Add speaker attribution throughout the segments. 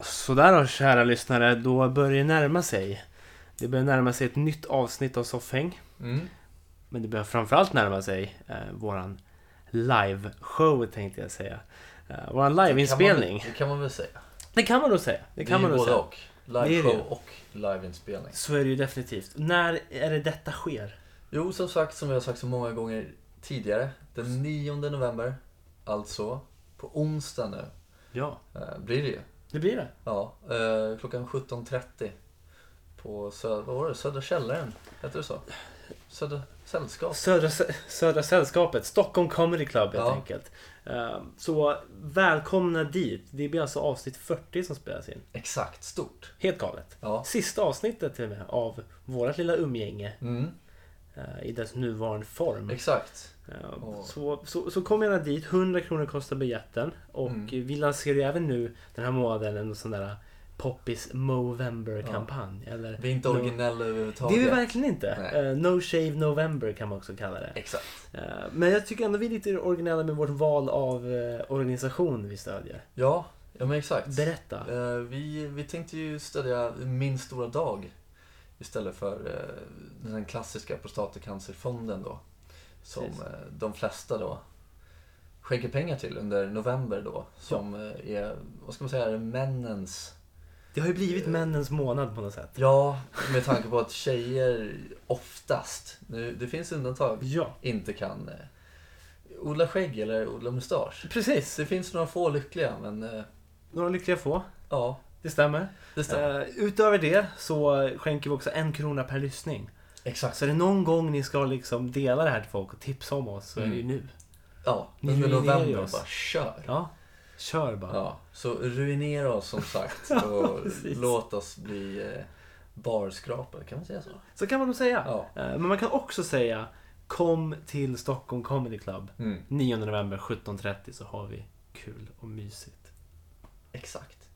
Speaker 1: Sådär då, kära lyssnare. Då börjar det närma sig. Det börjar närma sig ett nytt avsnitt av Soffhäng.
Speaker 2: Mm.
Speaker 1: Men det börjar framförallt närma sig eh, våran liveshow tänkte jag säga. Eh, våran liveinspelning.
Speaker 2: Det kan, man, väl- det kan man väl säga.
Speaker 1: Det kan man nog säga. Det kan
Speaker 2: är
Speaker 1: man
Speaker 2: ju
Speaker 1: nog
Speaker 2: både
Speaker 1: säga.
Speaker 2: och.
Speaker 1: Det är det
Speaker 2: Liveshow
Speaker 1: ju.
Speaker 2: och liveinspelning.
Speaker 1: Så är det ju definitivt. När är det detta sker?
Speaker 2: Jo, som sagt, som vi har sagt så många gånger tidigare. Den 9 november, alltså på onsdag nu,
Speaker 1: Ja,
Speaker 2: eh, blir det ju.
Speaker 1: det blir det.
Speaker 2: Ja, eh, klockan 17.30 på södra, vad var det? södra källaren, heter det så? Södra sällskap.
Speaker 1: Södra, Södra Sällskapet, Stockholm Comedy Club helt
Speaker 2: Ja.
Speaker 1: enkelt. Eh, Så välkomna dit. Det blir alltså avsnitt 40 som spelas in.
Speaker 2: Exakt, stort.
Speaker 1: Helt galet.
Speaker 2: Ja.
Speaker 1: Sista avsnittet till och med av vårt lilla umgänge
Speaker 2: Mm,
Speaker 1: eh, i dess nuvarande form.
Speaker 2: exakt.
Speaker 1: Eh,
Speaker 2: Åh.
Speaker 1: Så, så, så kom gärna dit, 100 kronor kostar biljetten. Och
Speaker 2: Mm.
Speaker 1: vi lanserar ju även nu den här månaden en sån där Poppis Movember-kampanj. Eller
Speaker 2: Vi är inte
Speaker 1: No-
Speaker 2: originella
Speaker 1: Det
Speaker 2: överhuvudtaget.
Speaker 1: är vi verkligen inte.
Speaker 2: Nej.
Speaker 1: Eh, no Shave November kan man också kalla det.
Speaker 2: Exakt.
Speaker 1: Eh, men jag tycker ändå vi är lite originella med vårt val av eh, organisation vi stödjer.
Speaker 2: Ja, ja men exakt.
Speaker 1: Berätta.
Speaker 2: Eh, vi, vi tänkte ju stödja Min stora dag istället för eh, den här klassiska prostatacancerfonden då. Som
Speaker 1: Precis.
Speaker 2: eh, de flesta då skänker pengar till under november då. Som eh, är, vad ska man säga, männens...
Speaker 1: Det har ju blivit
Speaker 2: eh,
Speaker 1: männens månad på något sätt.
Speaker 2: Ja, med tanke på att tjejer oftast, nu, det finns undantag,
Speaker 1: Ja,
Speaker 2: inte kan eh, odla skägg eller odla mustasch.
Speaker 1: precis.
Speaker 2: Det finns några få lyckliga men eh,
Speaker 1: Några lyckliga få.
Speaker 2: ja,
Speaker 1: Det stämmer.
Speaker 2: det stämmer.
Speaker 1: Eh, utöver det så skänker vi också en krona per lyssning.
Speaker 2: Exakt.
Speaker 1: Så är det någon gång ni ska liksom dela det här till folk och tipsa om oss så är det ju nu.
Speaker 2: Ja,
Speaker 1: Ni
Speaker 2: under
Speaker 1: ruinerar
Speaker 2: november
Speaker 1: oss.
Speaker 2: bara kör.
Speaker 1: Ja, kör bara.
Speaker 2: Ja, så ruinera oss som sagt och
Speaker 1: precis.
Speaker 2: låt oss bli eh, barskrapare, kan man säga så?
Speaker 1: Så kan man nog säga.
Speaker 2: Ja.
Speaker 1: Eh, men man kan också säga kom till Stockholm Comedy Club. 9 november 17.30 så har vi kul och mysigt.
Speaker 2: Exakt.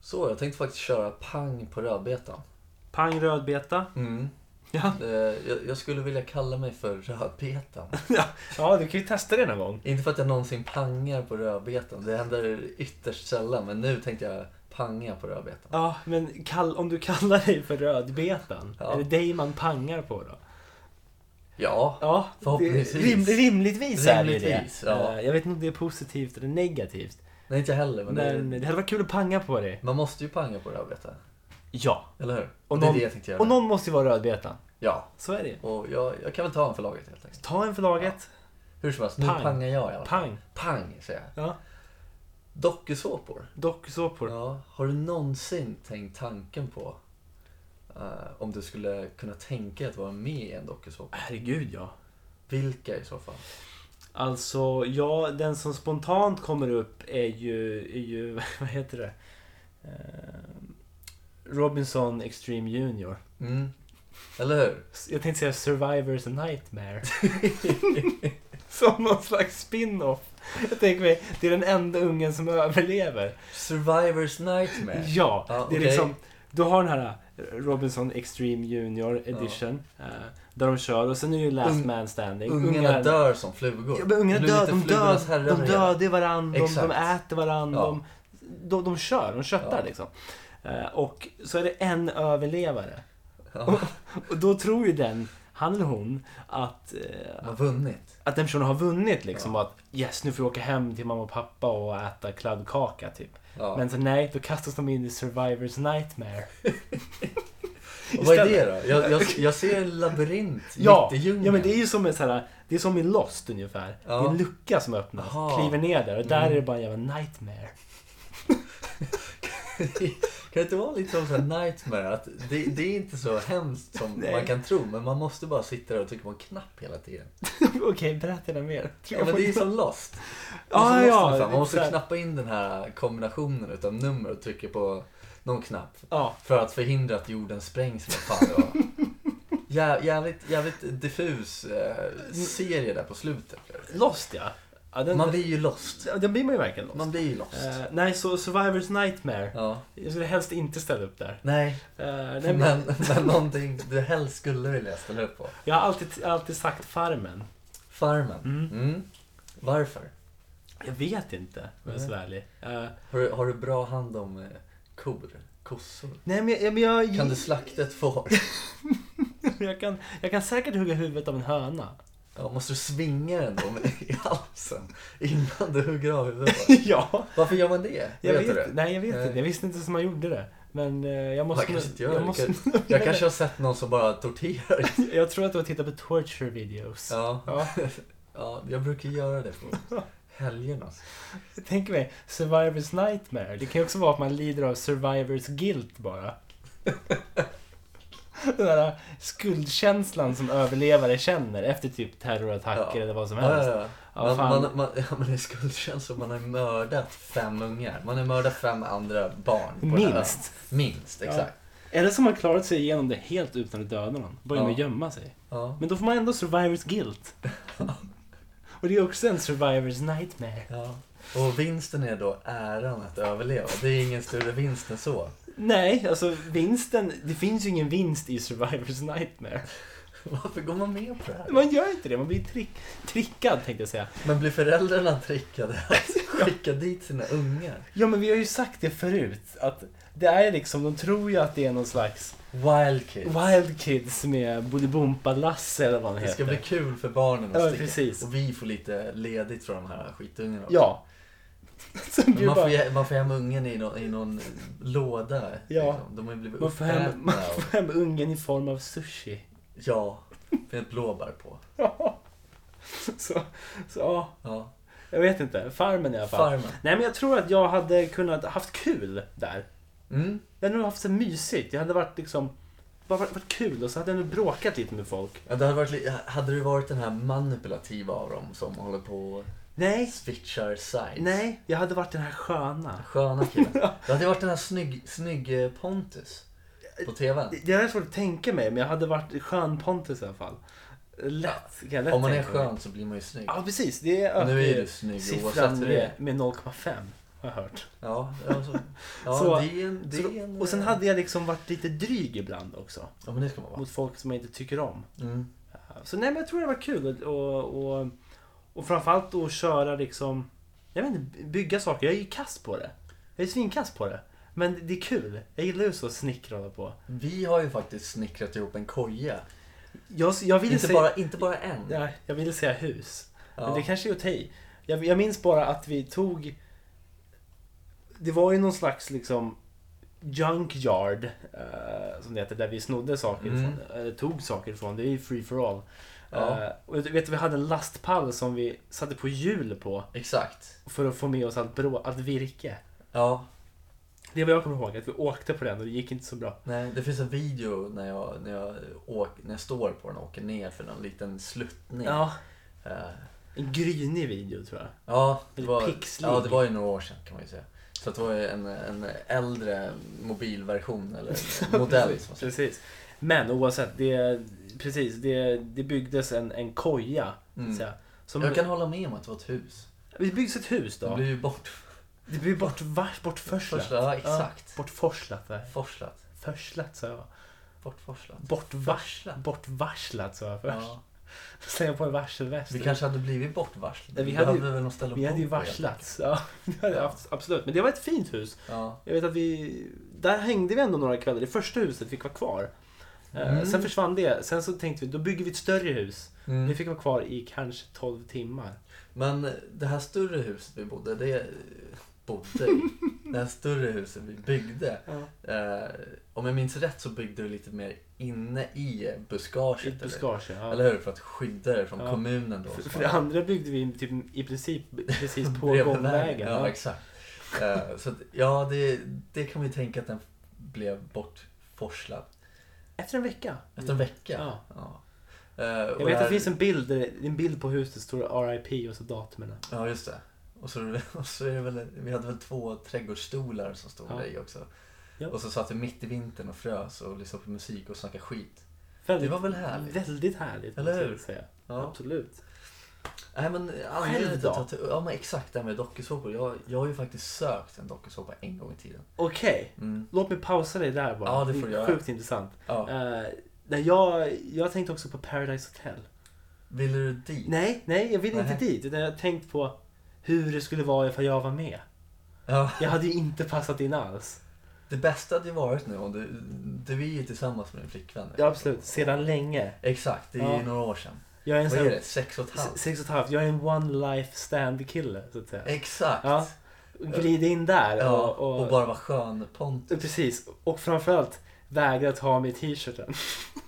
Speaker 2: Så, jag tänkte faktiskt köra pang på rödbetan.
Speaker 1: Pang rödbeta. Ja.
Speaker 2: Eh, jag, jag skulle vilja kalla mig för rödbetan.
Speaker 1: ja, du kan ju testa det någon gång.
Speaker 2: Inte för att jag någonsin pangar på rödbetan. Det händer ytterst sällan. Men nu tänkte jag panga på rödbetan.
Speaker 1: Ja, men kall, om du kallar dig för rödbetan,
Speaker 2: Ja.
Speaker 1: är det dig man pangar på då?
Speaker 2: Ja,
Speaker 1: Ja,
Speaker 2: Förhoppningsvis.
Speaker 1: det- Rim, rimligtvis är det ju det.
Speaker 2: Rimligtvis, ja.
Speaker 1: Eh, Jag vet inte om det är positivt eller negativt.
Speaker 2: nej inte jag heller. Men,
Speaker 1: Men
Speaker 2: Det,
Speaker 1: det hade varit kul att panga på det.
Speaker 2: man måste ju panga på rödbetan.
Speaker 1: Ja.
Speaker 2: Eller hur?
Speaker 1: Och
Speaker 2: det är
Speaker 1: någon-
Speaker 2: det jag tänkte göra.
Speaker 1: Och någon måste ju vara rödbetan.
Speaker 2: Ja,
Speaker 1: Så är det ju.
Speaker 2: och jag, jag kan väl ta en för laget helt enkelt.
Speaker 1: Ta en för laget.
Speaker 2: Hur som helst, nu
Speaker 1: Pang.
Speaker 2: pangar jag i alla fall.
Speaker 1: Pang.
Speaker 2: Pang, säger jag.
Speaker 1: Ja.
Speaker 2: Dokusåpor.
Speaker 1: Dokusåpor.
Speaker 2: Ja, har du någonsin tänkt tanken på eh, om du skulle kunna tänka dig att vara med i en dokusåpa?
Speaker 1: Herregud ja.
Speaker 2: Vilka i så fall?
Speaker 1: Alltså, ja, den som spontant kommer upp är ju, är ju vad heter det? Eh, Robinson Extreme Junior.
Speaker 2: Mm. Eller hur?
Speaker 1: Jag tänkte säga Survivors a Nightmare. som någon slags spin-off. Jag tänker mig, det är den enda ungen som överlever.
Speaker 2: Survivors Nightmare.
Speaker 1: Ja,
Speaker 2: Ja,
Speaker 1: det är
Speaker 2: okej.
Speaker 1: liksom... Du har den här eh, Robinson Extreme Junior Edition. eh, Där de kör och sen är det ju Last
Speaker 2: Ung-
Speaker 1: Man Standing.
Speaker 2: Ungarna dör som flugor.
Speaker 1: Ja, men ungarna
Speaker 2: Det blir
Speaker 1: dör,
Speaker 2: lite
Speaker 1: de dör,
Speaker 2: flugornas herrar
Speaker 1: de
Speaker 2: igen.
Speaker 1: dödar varandra, de, de
Speaker 2: Exakt.
Speaker 1: äter varandra,
Speaker 2: Ja.
Speaker 1: de, de, de kör, de köttar
Speaker 2: Ja.
Speaker 1: liksom. Eh, Och så är det en överlevare.
Speaker 2: Ja,
Speaker 1: Och då tror ju den, han eller hon, att, eh,
Speaker 2: de har vunnit.
Speaker 1: att den personen har vunnit liksom. Och att yes, nu får jag åka hem till mamma och pappa och äta kladdkaka typ.
Speaker 2: Ja.
Speaker 1: Men så nej, då kastas de in i Survivors Nightmare.
Speaker 2: Och vad är det
Speaker 1: istället.
Speaker 2: då? Jag, jag, jag ser en labyrint
Speaker 1: Ja,
Speaker 2: mitt i djungeln.
Speaker 1: ja, men det är ju som en sån här, det är som i Lost ungefär.
Speaker 2: Mm. Ja.
Speaker 1: Det är en lucka som öppnas,
Speaker 2: Aha. Mm.
Speaker 1: kliver ner där och där är det bara en jävla nightmare.
Speaker 2: Kan det inte vara lite som en nightmare? Att det, det är inte så hemskt som
Speaker 1: Nej.
Speaker 2: man kan tro, men man måste bara sitta där och trycka på en knapp hela tiden.
Speaker 1: Okej, berätta gärna mer.
Speaker 2: Ja, men det är som Lost. Det
Speaker 1: Ja,
Speaker 2: är som Lost
Speaker 1: ja,
Speaker 2: nästan. man måste
Speaker 1: exakt.
Speaker 2: knappa in den här kombinationen utav nummer och trycka på någon knapp
Speaker 1: Ja,
Speaker 2: för att förhindra att jorden sprängs. Med fan det var. Jä, jävligt, jävligt diffus eh, serie där på slutet.
Speaker 1: Lost ja. Ja, den,
Speaker 2: Man blir ju lost.
Speaker 1: ja, den blir man ju verkligen lost.
Speaker 2: Man blir ju lost.
Speaker 1: Eh, nej, så Survivors Nightmare.
Speaker 2: Ja.
Speaker 1: Jag skulle helst inte ställa upp där.
Speaker 2: Nej,
Speaker 1: Eh, nej,
Speaker 2: men,
Speaker 1: men-
Speaker 2: men någonting du helst skulle vilja ställa upp på.
Speaker 1: Jag har alltid, alltid sagt Farmen.
Speaker 2: Farmen.
Speaker 1: Mm.
Speaker 2: Mm. Varför?
Speaker 1: Jag vet inte, om jag ska vara
Speaker 2: Mm.
Speaker 1: ärlig. Eh,
Speaker 2: Har du, har du bra hand om eh, kor? Kossor?
Speaker 1: nej, men, jag- men jag,
Speaker 2: Kan du slakta ett får?
Speaker 1: jag, kan, jag kan säkert hugga huvudet av en höna.
Speaker 2: Ja, måste du svinga den då med, i halsen innan du hugger av huvudet? på den?
Speaker 1: ja,
Speaker 2: Varför gör man det?
Speaker 1: jag
Speaker 2: vet
Speaker 1: vet,
Speaker 2: du det?
Speaker 1: Nej, jag vet
Speaker 2: Nej.
Speaker 1: inte. Jag visste inte ens hur man gjorde det. Men eh, jag måste...
Speaker 2: Jag kanske inte gör
Speaker 1: jag,
Speaker 2: det.
Speaker 1: måste,
Speaker 2: Jag kanske har sett någon som bara torterar.
Speaker 1: jag tror att du har tittat på torture videos.
Speaker 2: Ja,
Speaker 1: Ja,
Speaker 2: ja jag brukar göra det på helgerna.
Speaker 1: tänk mig, survivors nightmare. Det kan ju också vara att man lider av survivors guilt bara. Den där skuldkänslan som överlevare känner efter typ terrorattacker
Speaker 2: Ja.
Speaker 1: eller vad som
Speaker 2: Ja, ja,
Speaker 1: helst.
Speaker 2: ja.
Speaker 1: Ja,
Speaker 2: man,
Speaker 1: fan.
Speaker 2: man, man, ja, man är skuldkänsla. Man har mördat fem ungar. Man har mördat fem andra barn. på den här ön.
Speaker 1: Minst.
Speaker 2: Minst,
Speaker 1: Ja.
Speaker 2: exakt.
Speaker 1: Eller som man klarat sig igenom det helt utan att döda någon. Bara genom
Speaker 2: Ja.
Speaker 1: att gömma sig.
Speaker 2: Ja.
Speaker 1: Men då får man ändå survivors guilt. Och det är också en survivors nightmare.
Speaker 2: Ja. Och vinsten är då äran att överleva. Det är ingen större vinst än så.
Speaker 1: Nej, alltså vinsten. Det finns ju ingen vinst i survivors nightmare.
Speaker 2: Varför går man med på det här?
Speaker 1: Man gör inte det, man blir trick, trickad tänkte jag säga.
Speaker 2: Men blir föräldrarna trickade att skicka dit sina ungar?
Speaker 1: Ja men vi har ju sagt det förut. Att det är liksom, de tror ju att det är någon slags
Speaker 2: Wild kids.
Speaker 1: Wild Kids med Bolibompa-Lasse eller vad han
Speaker 2: Det
Speaker 1: heter.
Speaker 2: ska bli kul för barnen
Speaker 1: Ja,
Speaker 2: att sticka.
Speaker 1: precis.
Speaker 2: Och vi får lite ledigt från de här skitungarna också.
Speaker 1: Ja. Som
Speaker 2: Men
Speaker 1: ju
Speaker 2: Man
Speaker 1: bara-
Speaker 2: får, ge, man får hem ungen i någon, i någon låda.
Speaker 1: Ja.
Speaker 2: Liksom. De har ju blivit
Speaker 1: Man får, hem,
Speaker 2: uppätna.
Speaker 1: man
Speaker 2: Och,
Speaker 1: får hem ungen i form av sushi.
Speaker 2: ja, med blåbär på.
Speaker 1: Ja. Så, så ja.
Speaker 2: Ja.
Speaker 1: Jag vet inte. Farmen i alla fall.
Speaker 2: Farmen.
Speaker 1: Nej men jag tror att jag hade kunnat haft kul där.
Speaker 2: Mm.
Speaker 1: Jag hade nog haft så mysigt. Jag hade varit liksom... Bara varit, varit kul och så hade jag nog bråkat lite med folk.
Speaker 2: Ja, det hade, varit, li- hade du varit den här manipulativa av dem som håller på och
Speaker 1: Nej.
Speaker 2: switchar sides?
Speaker 1: Nej. Jag hade varit den här sköna.
Speaker 2: Sköna killen. Det hade varit den här snygg, snygg eh, Pontus på TVn.
Speaker 1: Det är svårt att tänka mig men jag hade varit skön Pontus i alla fall. Lätt. Kan jag lätt
Speaker 2: Om man är
Speaker 1: tänka mig.
Speaker 2: skön så blir man ju snygg.
Speaker 1: Ja precis. Det ökar
Speaker 2: Nu är
Speaker 1: ju
Speaker 2: du snygg
Speaker 1: siffran
Speaker 2: oavsett hur det
Speaker 1: med, med
Speaker 2: är.
Speaker 1: 0,5. Har jag hört.
Speaker 2: Ja, alltså, ja
Speaker 1: Så-
Speaker 2: det är en... Det
Speaker 1: Så
Speaker 2: är
Speaker 1: då-
Speaker 2: en
Speaker 1: och sen
Speaker 2: eh,
Speaker 1: hade jag liksom varit lite dryg ibland också.
Speaker 2: Ja, men det ska man vara.
Speaker 1: Mot folk som jag inte tycker om.
Speaker 2: Mm.
Speaker 1: Så nej men jag tror det var kul att- och, och, och framförallt då att köra liksom Jag vet inte, bygga saker. Jag är ju kass på det. Jag är svinkass på det. Men det är kul. Jag gillar ju så att snickra och hålla på.
Speaker 2: Vi har ju faktiskt snickrat ihop en koja.
Speaker 1: Jag, jag ville
Speaker 2: Inte
Speaker 1: säga,
Speaker 2: bara, inte bara en.
Speaker 1: ja, jag ville säga hus.
Speaker 2: Ja.
Speaker 1: Men det kanske är att ta i. jag, jag minns bara att vi tog Det var ju någon slags liksom Junk yard eh, Som det heter, där vi snodde saker
Speaker 2: Mm.
Speaker 1: ifrån. Eller tog saker ifrån. Det är ju free for all.
Speaker 2: Ja.
Speaker 1: Eh, och du vet, vi hade en lastpall som vi satte på hjul på
Speaker 2: Exakt.
Speaker 1: för att få med oss allt, brå, allt virke.
Speaker 2: Ja,
Speaker 1: Det är vad jag kommer ihåg, att vi åkte på den och det gick inte så bra.
Speaker 2: nej, det finns en video när jag, när jag, åk, när jag står på den och åker ner för någon liten sluttning.
Speaker 1: Ja,
Speaker 2: Eh,
Speaker 1: en grynig video tror jag.
Speaker 2: Ja, det
Speaker 1: Väldigt
Speaker 2: var,
Speaker 1: pixlig.
Speaker 2: ja, det var ju några år sedan kan man ju säga. Så att det var ju en, en äldre mobilversion eller modell. som man säger.
Speaker 1: Precis. Men oavsett, det, precis, det, det byggdes en, en koja.
Speaker 2: Mm.
Speaker 1: Så att säga, som,
Speaker 2: Jag kan hålla med om att det var ett hus.
Speaker 1: Det byggs ett hus
Speaker 2: Det
Speaker 1: då.
Speaker 2: blev ju bort,
Speaker 1: Det blir bort, var- bortforslat.
Speaker 2: Forslat, ja, exakt.
Speaker 1: Bortforslat. va?
Speaker 2: forslat.
Speaker 1: Förslat sa jag.
Speaker 2: Bortforslat.
Speaker 1: Bortvarslat. Bortvarslat sa jag först.
Speaker 2: Ja.
Speaker 1: Slänga på en varselväst.
Speaker 2: Vi kanske hade blivit bortvarslade.
Speaker 1: Nej, vi
Speaker 2: Vi
Speaker 1: hade ju-
Speaker 2: behövde väl något ställe att
Speaker 1: Vi hade
Speaker 2: bo
Speaker 1: ju
Speaker 2: på
Speaker 1: varslats. Ja, det hade jag haft, absolut. Men det var ett fint hus.
Speaker 2: egentligen. Ja.
Speaker 1: Jag vet att vi... Där hängde vi ändå några kvällar. Det första huset fick vara kvar. Eh,
Speaker 2: Mm.
Speaker 1: Sen försvann det. Sen så tänkte vi, då bygger vi ett större hus.
Speaker 2: Mm.
Speaker 1: Det fick vara kvar i kanske 12 timmar.
Speaker 2: Men det här större huset vi bodde, det bodde i. det här större huset vi byggde. Eh, om jag minns rätt så byggde vi lite mer inne i buskaget.
Speaker 1: I ett
Speaker 2: eller?
Speaker 1: buskage. Ja.
Speaker 2: Eller hur? För att skydda det från
Speaker 1: Ja.
Speaker 2: kommunen då.
Speaker 1: för,
Speaker 2: som
Speaker 1: för det
Speaker 2: var
Speaker 1: andra byggde vi typ, i princip precis på
Speaker 2: bredvid
Speaker 1: gångvägen.
Speaker 2: Ja,
Speaker 1: Ja.
Speaker 2: exakt. Eh, så att, ja, det, det kan vi tänka att den blev bortforslad.
Speaker 1: Efter en vecka.
Speaker 2: Efter en vecka.
Speaker 1: Mm. Ja.
Speaker 2: Eh, och
Speaker 1: Jag vet att
Speaker 2: här-
Speaker 1: det finns en bild, där- en bild på huset, står RIP och så datumen.
Speaker 2: Ja, just det. Och så, och så är det väl, vi hade väl två trädgårdsstolar som stod
Speaker 1: Ja.
Speaker 2: där i också.
Speaker 1: Ja.
Speaker 2: Och så satt vi mitt i vintern och frös och lyssnade på musik och snackade skit.
Speaker 1: Väldigt,
Speaker 2: Det var väl härligt?
Speaker 1: Väldigt härligt.
Speaker 2: Eller
Speaker 1: måste jag
Speaker 2: hur?
Speaker 1: Säga.
Speaker 2: Ja.
Speaker 1: Absolut.
Speaker 2: Nej men anledningen till
Speaker 1: då?
Speaker 2: att jag tog- Ja men exakt det här med dokusåpor. Jag, jag har ju faktiskt sökt en dokusåpa en gång i tiden.
Speaker 1: Okej,
Speaker 2: Mm.
Speaker 1: låt mig pausa dig där bara.
Speaker 2: Ja, det får du
Speaker 1: är
Speaker 2: göra.
Speaker 1: sjukt intressant.
Speaker 2: Ja.
Speaker 1: Eh, nej, jag, jag tänkte också på Paradise Hotel.
Speaker 2: Ville du dit?
Speaker 1: Nej, nej, jag vill inte
Speaker 2: Nej.
Speaker 1: dit. Utan jag har tänkt på hur det skulle vara ifall jag var med.
Speaker 2: Ja.
Speaker 1: Jag hade ju inte passat in alls.
Speaker 2: Det bästa hade ju varit nu om du, du är ju tillsammans med din flickvän nu.
Speaker 1: Ja, absolut. Sedan länge.
Speaker 2: Exakt, det är
Speaker 1: Ja.
Speaker 2: ju några år sedan.
Speaker 1: Jag är en
Speaker 2: Vad
Speaker 1: sån här,
Speaker 2: är det? Sex och ett
Speaker 1: se-
Speaker 2: halvt?
Speaker 1: sex och ett halvt. Jag är en one life stand kille, så att säga.
Speaker 2: Exakt!
Speaker 1: Ja. Glid in där
Speaker 2: Eh, Ja,
Speaker 1: och, och, Eh,
Speaker 2: och bara vara skön Pontus.
Speaker 1: Precis. Och framförallt vägra ta av mig t-shirten.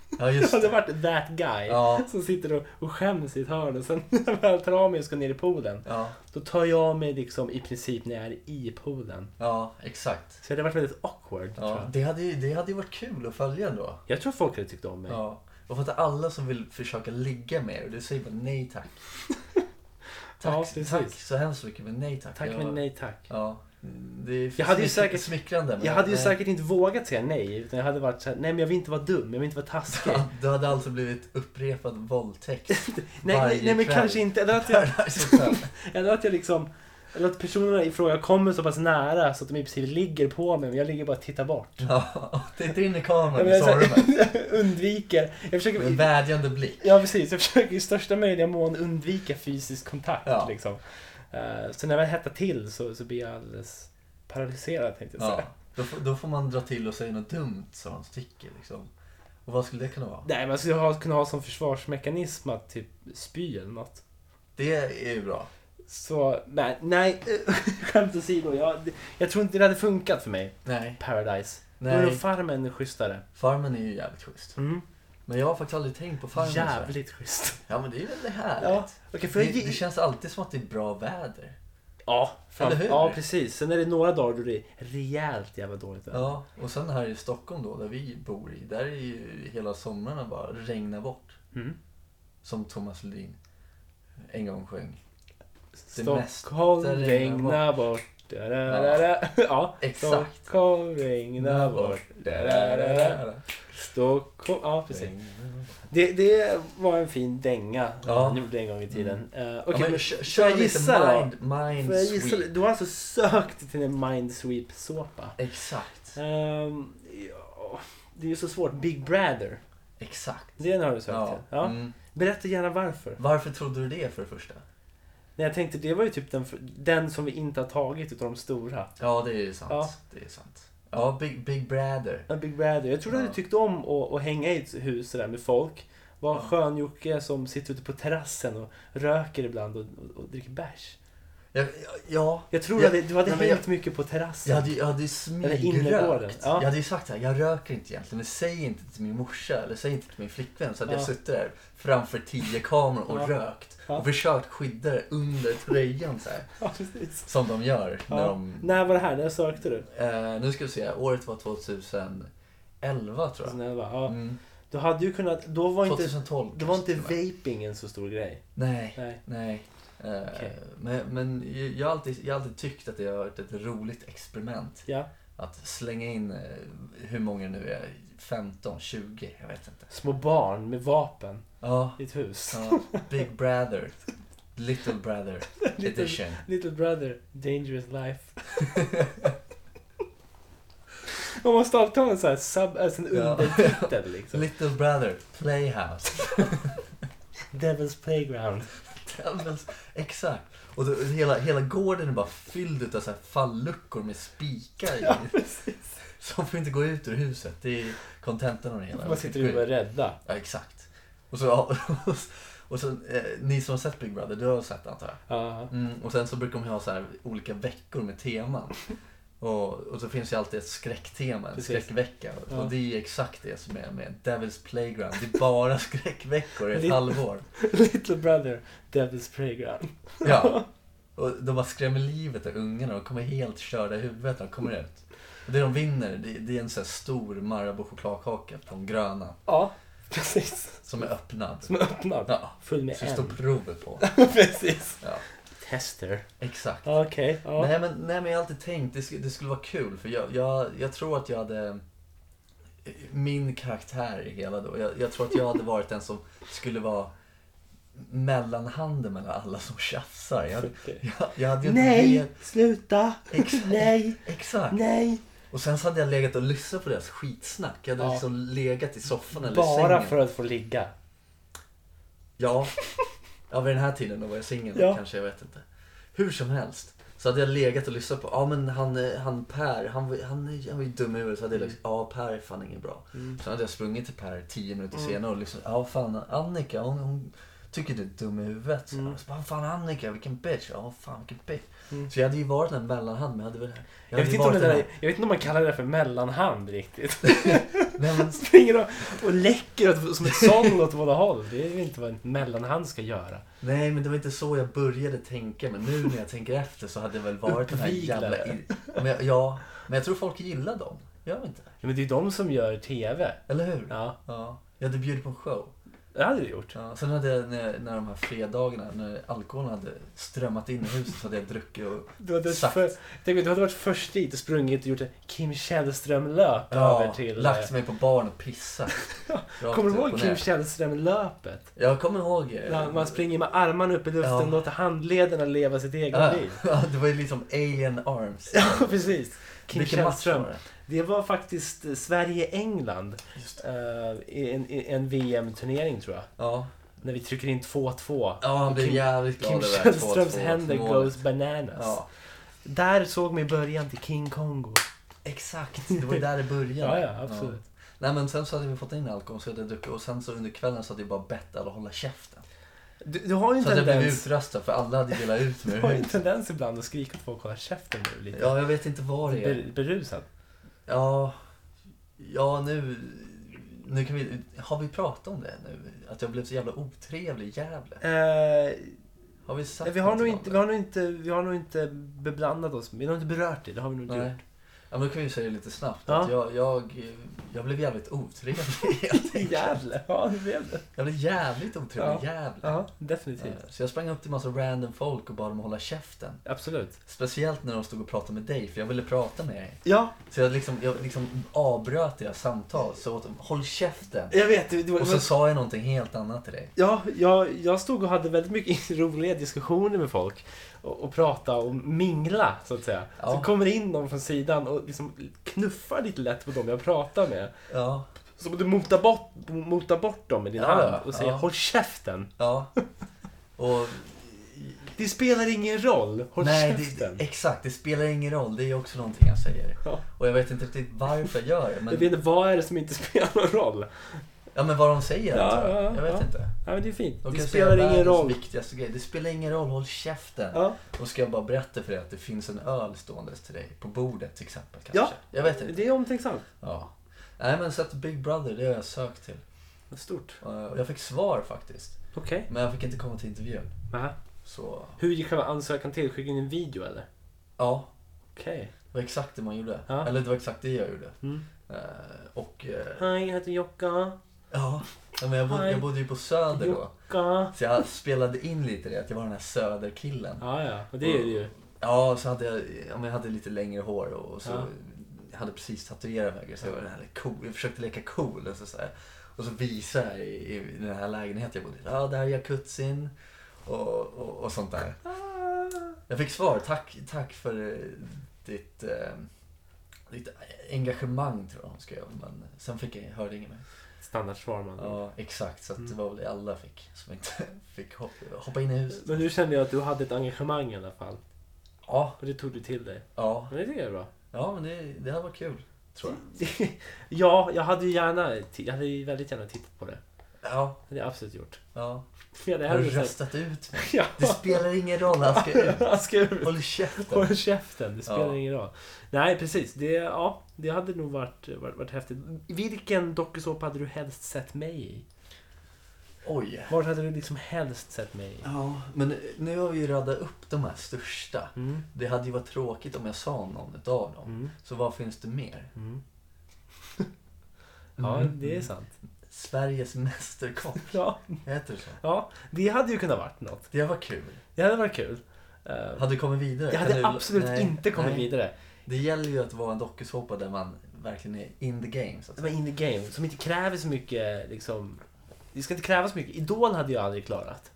Speaker 2: Ja
Speaker 1: Jag
Speaker 2: just
Speaker 1: hade
Speaker 2: det.
Speaker 1: varit that guy.
Speaker 2: Ja,
Speaker 1: Som sitter och, och skäms i ett hörn och sen när jag väl tar av mig och ska ner i poolen.
Speaker 2: ja,
Speaker 1: Då tar jag av mig liksom i princip när jag är i poolen.
Speaker 2: ja exakt.
Speaker 1: Så det hade varit väldigt awkward tror
Speaker 2: Ja,
Speaker 1: jag.
Speaker 2: det, hade ju, det hade ju varit kul att följa ändå.
Speaker 1: Jag tror folk hade tyckt om mig.
Speaker 2: Ja. Och för att alla som vill försöka ligga med er, du säger bara nej tack.
Speaker 1: Ja,
Speaker 2: Tack,
Speaker 1: precis.
Speaker 2: tack så hemskt mycket men nej tack.
Speaker 1: Tack
Speaker 2: jag,
Speaker 1: men nej tack.
Speaker 2: Ja, det är
Speaker 1: Jag hade ju
Speaker 2: smick-
Speaker 1: säkert-
Speaker 2: smickrande. men
Speaker 1: Jag hade ju
Speaker 2: nej.
Speaker 1: säkert inte vågat säga nej. Utan jag hade varit såhär, nej men jag vill inte vara dum, jag vill inte vara taskig.
Speaker 2: Ja, Du hade alltså blivit upprepad våldtäkt.
Speaker 1: nej, nej,
Speaker 2: varje
Speaker 1: nej men
Speaker 2: kväll.
Speaker 1: kanske inte. Eller att jag, eller att jag liksom... Eller att personerna i fråga kommer så pass nära så att de i princip ligger på mig men jag ligger bara och tittar bort.
Speaker 2: Ja, titta in i
Speaker 1: Ja,
Speaker 2: kameran
Speaker 1: men
Speaker 2: i
Speaker 1: jag så
Speaker 2: sorgen.
Speaker 1: här, undviker. Jag försöker,
Speaker 2: Med en vädjande blick.
Speaker 1: Ja precis, jag försöker i största möjliga mån undvika fysisk kontakt.
Speaker 2: Ja.
Speaker 1: Liksom. Eh, så när jag väl hettar till så, så blir jag alldeles paralyserad tänkte jag säga.
Speaker 2: Ja, då, får- då får man dra till och säga något dumt som de tycker liksom. Och vad skulle det kunna vara?
Speaker 1: Nej, man skulle ha, kunna ha som försvarsmekanism att typ spy eller något.
Speaker 2: Det är ju bra.
Speaker 1: Så nej, nej skämt åsido. Jag, jag tror inte det hade funkat för mig.
Speaker 2: Nej.
Speaker 1: Paradise. Då är
Speaker 2: Nej.
Speaker 1: nog Farmen är schysstare.
Speaker 2: Farmen är ju jävligt schysst. Men jag har faktiskt aldrig tänkt på farmen. så här.
Speaker 1: Mm. Jävligt schysst.
Speaker 2: Ja men det är väl det här.
Speaker 1: Ja. Okej, får jag
Speaker 2: Det, det
Speaker 1: ge...
Speaker 2: känns alltid som att det är bra väder.
Speaker 1: Ja, fan.
Speaker 2: Eller hur?
Speaker 1: ja, precis. Sen är det några dagar då det är rejält jävla dåligt väder.
Speaker 2: Ja, och sen här i Stockholm då, där vi bor i, där är ju hela somrarna bara regna bort.
Speaker 1: Mm.
Speaker 2: Som Thomas Ledin en gång sjöng. Det mesta
Speaker 1: Stockholm regna
Speaker 2: regnar
Speaker 1: bort. Da, da, da, da. Ja,
Speaker 2: Exakt.
Speaker 1: Stockholm regna bort. Da, da, da, da. Stockholm, ja precis. Det, det var en fin dänga
Speaker 2: Ja.
Speaker 1: han gjorde en gång i tiden. Mm. Okej,
Speaker 2: Ja, men
Speaker 1: men
Speaker 2: kö-
Speaker 1: jag
Speaker 2: kör
Speaker 1: gissa
Speaker 2: lite
Speaker 1: då?
Speaker 2: mind, mind
Speaker 1: får jag gissa,
Speaker 2: sweep.
Speaker 1: lite? du har alltså sökt till en Mindsweep-såpa.
Speaker 2: Exakt,
Speaker 1: Ehm, ja, det är ju så svårt. Big Brother.
Speaker 2: exakt.
Speaker 1: Den har du sökt
Speaker 2: Ja.
Speaker 1: till. Ja.
Speaker 2: Mm.
Speaker 1: Berätta gärna varför.
Speaker 2: Varför trodde du det för det första?
Speaker 1: Nej, jag tänkte det var ju typ den, den som vi inte har tagit utav de stora.
Speaker 2: Ja, det är ju sant.
Speaker 1: Ja.
Speaker 2: Det är sant. Ja, Big, Big Brother.
Speaker 1: Ja, Big Brother. Jag trodde
Speaker 2: Ja.
Speaker 1: du tyckte om att, att hänga i ett hus där med folk. Vara
Speaker 2: Ja.
Speaker 1: skön-Jocke som sitter ute på terrassen och röker ibland och, och, och dricker bärs.
Speaker 2: Ja, ja,
Speaker 1: Jag tror
Speaker 2: Ja,
Speaker 1: att du hade
Speaker 2: nej, men
Speaker 1: hängt mycket på terrassen.
Speaker 2: jag hade, ju- jag hade ju
Speaker 1: innergården.
Speaker 2: smygrökt.
Speaker 1: Ja.
Speaker 2: Jag hade ju sagt så här, jag röker inte egentligen. Men säg inte till min morsa eller säg inte till min flickvän. Så hade
Speaker 1: Ja.
Speaker 2: jag suttit där framför tio kameror och
Speaker 1: Ja.
Speaker 2: rökt.
Speaker 1: Ja.
Speaker 2: Och försökt skydda det under tröjan så här.
Speaker 1: Ja, precis.
Speaker 2: Som de gör
Speaker 1: Ja.
Speaker 2: när de...
Speaker 1: När var det här? När sökte du?
Speaker 2: Eh, nu ska vi se, året var 2011 tror jag.
Speaker 1: Alltså, När det var, ja.
Speaker 2: Mm.
Speaker 1: Du hade ju kunnat... Då var inte,
Speaker 2: 2012
Speaker 1: då var inte
Speaker 2: kanske till och med.
Speaker 1: vaping en så stor grej.
Speaker 2: Nej,
Speaker 1: Nej.
Speaker 2: nej. Eh,
Speaker 1: Okej.
Speaker 2: Men, men jag, har alltid, jag har alltid tyckt att det har varit ett roligt experiment.
Speaker 1: Ja.
Speaker 2: Att slänga in, eh, hur många nu är 15, 20, jag vet inte.
Speaker 1: Små barn med vapen
Speaker 2: Ja,
Speaker 1: i ett hus.
Speaker 2: ja Big Brother. Little Brother edition.
Speaker 1: Little brother, dangerous life. Man måste alltid ha en sån här sub, alltså en
Speaker 2: Ja.
Speaker 1: undertitel liksom.
Speaker 2: Little Brother Playhouse.
Speaker 1: Devil's playground.
Speaker 2: Devil's, exakt. Och då, hela, hela gården är bara fylld av så här falluckor med spikar i. Som får inte gå ut ur huset. Det är kontentan av det hela.
Speaker 1: Man sitter ju och är rädda.
Speaker 2: Ja, exakt. Och så, och så eh, ni som har sett Big Brother, du har sett det, antar jag?
Speaker 1: Ja.
Speaker 2: Mm, och sen så brukar de ha så här olika veckor med teman. Och, och så finns ju alltid ett skräcktema, en
Speaker 1: Precis.
Speaker 2: skräckvecka.
Speaker 1: Ja.
Speaker 2: Och det är ju exakt det som är med Devil's Playground. Det är bara skräckveckor i
Speaker 1: Det-
Speaker 2: ett halvår.
Speaker 1: Little brother, devil's playground.
Speaker 2: Ja. Och de bara skrämmer livet ur ungarna. De kommer helt körda i huvudet när de kommer ut. Och det de vinner, det, det är en sån här stor Marabou chokladkaka från gröna.
Speaker 1: Ja, precis.
Speaker 2: Som är öppnad.
Speaker 1: Som är öppnad.
Speaker 2: Ja.
Speaker 1: Full med
Speaker 2: Så det står
Speaker 1: M.
Speaker 2: provet på.
Speaker 1: precis.
Speaker 2: Ja,
Speaker 1: Tester.
Speaker 2: exakt.
Speaker 1: Okej. ja.
Speaker 2: Nej, men, nej men jag har alltid tänkt det skulle, det skulle vara kul för jag, jag, jag tror att jag hade min karaktär i hela då. Jag, jag tror att jag hade varit den som skulle vara mellanhanden mellan alla som tjafsar. Jag,
Speaker 1: Okej.
Speaker 2: jag, jag hade ju inte
Speaker 1: Nej!
Speaker 2: velat-
Speaker 1: Sluta!
Speaker 2: Exakt.
Speaker 1: Nej!
Speaker 2: Exakt.
Speaker 1: Nej!
Speaker 2: Och sen så hade jag legat och lyssnat på deras skitsnack. Jag hade
Speaker 1: Ja.
Speaker 2: liksom legat i soffan eller
Speaker 1: Bara
Speaker 2: sängen.
Speaker 1: för att få ligga.
Speaker 2: Ja. ja, vid den här tiden då var jag singel
Speaker 1: Ja.
Speaker 2: kanske, jag vet inte. Hur som helst. Så hade jag legat och lyssnat på, ja men han, eh, han Per, han, var- han, är- han var ju dum i huvudet. Så hade
Speaker 1: Mm.
Speaker 2: jag liksom, ja Per är fan ingen bra. Sen hade jag sprungit till Per tio minuter
Speaker 1: Mm.
Speaker 2: senare och liksom, ja fan Annika, hon, hon tycker du är dum i huvudet.
Speaker 1: Mm.
Speaker 2: Så jag bara, fan Annika, vilken bitch. Ja fan vilken bitch. Så jag hade ju varit den mellanhand, men jag hade väl...
Speaker 1: Jag
Speaker 2: hade
Speaker 1: vet,
Speaker 2: ju
Speaker 1: inte om det
Speaker 2: varit
Speaker 1: där,
Speaker 2: den
Speaker 1: jag vet inte om man kallar det där för mellanhand riktigt.
Speaker 2: här- Nej, men,
Speaker 1: Springer och, och läcker åt, som ett sång åt båda håll. Det är ju inte vad en mellanhand ska göra.
Speaker 2: Nej, men det var inte så jag började tänka. Men nu när jag tänker efter så hade det väl varit den här jävla...
Speaker 1: Uppviglare.
Speaker 2: Men jag, ja, men jag tror folk gillar dem. Gör de inte?
Speaker 1: Ja, men det är ju de som gör TV.
Speaker 2: Eller hur?
Speaker 1: Ja,
Speaker 2: Ja. Jag hade bjudit på en show.
Speaker 1: det hade du gjort.
Speaker 2: Ja. Sen hade jag, när, när de här fredagarna, när alkoholen hade strömmat in i huset så hade jag druckit och...
Speaker 1: Du hade,
Speaker 2: Exakt.
Speaker 1: för, tänk, om du hade varit först dit och sprungit och gjort en Kim Källström-löp över
Speaker 2: Ja,
Speaker 1: till... eh,
Speaker 2: lagt mig på barn och pissat. Rakt
Speaker 1: Kommer du
Speaker 2: upp
Speaker 1: ihåg
Speaker 2: och
Speaker 1: Kim
Speaker 2: ner.
Speaker 1: Källström-löpet?
Speaker 2: Jag kommer ihåg. eh,
Speaker 1: När man springer med armarna upp i luften
Speaker 2: Ja.
Speaker 1: och låter handlederna leva sitt eget
Speaker 2: ja,
Speaker 1: liv.
Speaker 2: ja, det var ju liksom alien arms.
Speaker 1: Ja, precis. Kim
Speaker 2: Vilken match
Speaker 1: Källström.
Speaker 2: var det?
Speaker 1: Det var faktiskt eh, Sverige-England.
Speaker 2: Just
Speaker 1: eh, i en, i en VM-turnering tror jag.
Speaker 2: Ja,
Speaker 1: När vi trycker in 2-2.
Speaker 2: ja han blev
Speaker 1: Kim-
Speaker 2: jävligt glad
Speaker 1: Kim
Speaker 2: över
Speaker 1: Källströms
Speaker 2: 2-2
Speaker 1: händer
Speaker 2: målet.
Speaker 1: goes bananas.
Speaker 2: Ja,
Speaker 1: Där såg man i början till King Kongo.
Speaker 2: exakt. Det var ju där det
Speaker 1: Ja,
Speaker 2: började.
Speaker 1: ja, absolut.
Speaker 2: Nej men sen så hade vi fått in alkohol så hade jag druckit och sen så under kvällen så hade jag bara bett alla hålla käften.
Speaker 1: Du, du har ju en
Speaker 2: Så hade jag blivit
Speaker 1: tendens,
Speaker 2: utröstad för alla hade velat ut
Speaker 1: du
Speaker 2: mig
Speaker 1: har ju en
Speaker 2: ur
Speaker 1: tendens ibland att skrika åt folk att hålla käften nu. Lite
Speaker 2: Ja, jag vet inte vad det är.
Speaker 1: ber, berusad.
Speaker 2: Ja, ja nu, nu kan vi, har vi pratat om det nu? Att jag blev så jävla otrevlig i Gävle?
Speaker 1: Eh,
Speaker 2: Har vi sagt
Speaker 1: vi, har nog
Speaker 2: någonting
Speaker 1: inte, vi,
Speaker 2: om det?
Speaker 1: har nog inte, vi har nog inte beblandat oss. Vi har nog inte berört det. Det har vi nog inte
Speaker 2: Nej.
Speaker 1: gjort.
Speaker 2: Ja men då kan vi säga det lite snabbt.
Speaker 1: Ja.
Speaker 2: Att jag, jag, jag blev jävligt otrevlig helt enkelt.
Speaker 1: Jävlar, ja det blev det.
Speaker 2: Jag blev jävligt
Speaker 1: Ja.
Speaker 2: otrevlig i Gävle.
Speaker 1: Ja, definitivt.
Speaker 2: Eh, Så jag sprang upp till massa random folk och bad dem hålla käften.
Speaker 1: Absolut.
Speaker 2: Speciellt när de stod och pratade med dig, för jag ville prata med dig.
Speaker 1: Ja,
Speaker 2: Så jag liksom, jag liksom avbröt deras samtal, så åt dem, håll käften.
Speaker 1: jag vet. Det, det var-
Speaker 2: Och så sa jag någonting helt annat till dig.
Speaker 1: Ja, jag, jag stod och hade väldigt mycket roliga diskussioner med folk. Och, och prata och mingla, så att säga.
Speaker 2: Ja.
Speaker 1: Så kommer det in någon från sidan och liksom knuffar lite lätt på dem jag pratar med.
Speaker 2: Ja,
Speaker 1: Så du motar bort, motar bort dem med din
Speaker 2: Ja,
Speaker 1: hand och säger
Speaker 2: ja.
Speaker 1: “Håll käften!”
Speaker 2: ja. Och,
Speaker 1: Det spelar ingen roll, håll
Speaker 2: nej, det,
Speaker 1: käften!
Speaker 2: exakt, det spelar ingen roll. Det är också någonting jag säger.
Speaker 1: Ja.
Speaker 2: Och jag vet inte riktigt varför jag gör det.
Speaker 1: Jag vet
Speaker 2: Men,
Speaker 1: inte, vad är det som inte spelar någon roll?
Speaker 2: ja, men vad de säger
Speaker 1: Ja,
Speaker 2: tror jag.
Speaker 1: ja,
Speaker 2: Jag vet
Speaker 1: ja.
Speaker 2: inte.
Speaker 1: Ja, men det är fint.
Speaker 2: De
Speaker 1: det
Speaker 2: kan säga
Speaker 1: spelar ingen
Speaker 2: världens
Speaker 1: roll.
Speaker 2: viktigaste grej. Det spelar ingen roll, håll käften.
Speaker 1: Ja,
Speaker 2: Då ska jag bara berätta för dig att det finns en öl ståendes till dig på bordet till exempel. Kanske.
Speaker 1: Ja.
Speaker 2: Jag vet inte.
Speaker 1: det är omtänksamt.
Speaker 2: Ja. Nej men så att Big Brother, det har jag sökt till.
Speaker 1: Stort.
Speaker 2: Eh, Och jag fick svar faktiskt.
Speaker 1: Okej.
Speaker 2: Men jag fick inte komma till intervjun.
Speaker 1: Aha.
Speaker 2: Så
Speaker 1: Hur gick själva ansökan till? Skickade ni en video eller?
Speaker 2: ja,
Speaker 1: Okej.
Speaker 2: det var exakt det man gjorde.
Speaker 1: Ja.
Speaker 2: Eller det var exakt det jag gjorde.
Speaker 1: Mm.
Speaker 2: Eh, Och eh,
Speaker 1: Hej, jag heter Jocka.
Speaker 2: ja, Ja, men jag bodde,
Speaker 1: Hi.
Speaker 2: jag bodde ju på Söder då.
Speaker 1: Jocka.
Speaker 2: Så jag spelade in lite det, att jag var den här Söderkillen.
Speaker 1: Ja, ja. Och det är det ju.
Speaker 2: Ja, så hade jag, ja, men jag hade lite längre hår och så
Speaker 1: Ja.
Speaker 2: jag hade precis tatuerat mig. Så jag, var den här cool, jag försökte leka cool. Och så, så här. Och så visade jag i, i den här lägenheten jag bodde i. Ja, där är jacuzzin. Och, och, och sånt där. Jag fick svar. Tack, tack för eh, ditt, eh, ditt engagemang tror jag hon skrev. Men sen fick jag, hörde ingen mer.
Speaker 1: Standardsvar man.
Speaker 2: Ja, exakt. Så att det var väl det alla fick som inte fick hoppa, hoppa in i huset.
Speaker 1: Men nu kände jag att du hade ett engagemang i alla fall.
Speaker 2: Ja,
Speaker 1: Och det tog du till dig.
Speaker 2: ja,
Speaker 1: Men det tycker jag är bra.
Speaker 2: ja men det, det här var kul. Tror
Speaker 1: Mm.
Speaker 2: jag.
Speaker 1: ja, jag hade ju gärna, jag hade ju väldigt gärna tittat på det.
Speaker 2: Ja,
Speaker 1: Det hade jag absolut gjort.
Speaker 2: ja.
Speaker 1: Ja, det
Speaker 2: Har
Speaker 1: hade
Speaker 2: du
Speaker 1: jag sagt.
Speaker 2: röstat ut mig?
Speaker 1: Ja.
Speaker 2: Det spelar ingen roll, han ska ut.
Speaker 1: Han ska ut.
Speaker 2: Håll käften.
Speaker 1: Håll käften, det spelar
Speaker 2: Ja.
Speaker 1: ingen roll. Nej, precis. Det, ja, det hade nog varit, varit, varit häftigt. Vilken dokusåpa hade du helst sett mig i?
Speaker 2: Oj.
Speaker 1: Var hade du liksom helst sett mig i?
Speaker 2: Ja, men nu har vi ju radat upp de här största.
Speaker 1: Mm.
Speaker 2: Det hade ju varit tråkigt om jag sa någon utav dem.
Speaker 1: Mm.
Speaker 2: Så vad finns det mer?
Speaker 1: Mm. Ja, det är sant.
Speaker 2: Sveriges mästerkock.
Speaker 1: Ja,
Speaker 2: Heter det så?
Speaker 1: ja, det hade ju kunnat varit något.
Speaker 2: Det var kul.
Speaker 1: Det hade varit kul. Eh,
Speaker 2: Hade du kommit vidare?
Speaker 1: Jag
Speaker 2: Kan
Speaker 1: hade
Speaker 2: du-
Speaker 1: absolut
Speaker 2: Nej,
Speaker 1: inte kommit
Speaker 2: nej.
Speaker 1: vidare.
Speaker 2: Det gäller ju att vara en dokusåpa där man verkligen är in the game. Så att
Speaker 1: Det
Speaker 2: säga.
Speaker 1: var in the game, som inte kräver så mycket liksom... Det ska inte kräva så mycket. Idol hade jag aldrig klarat.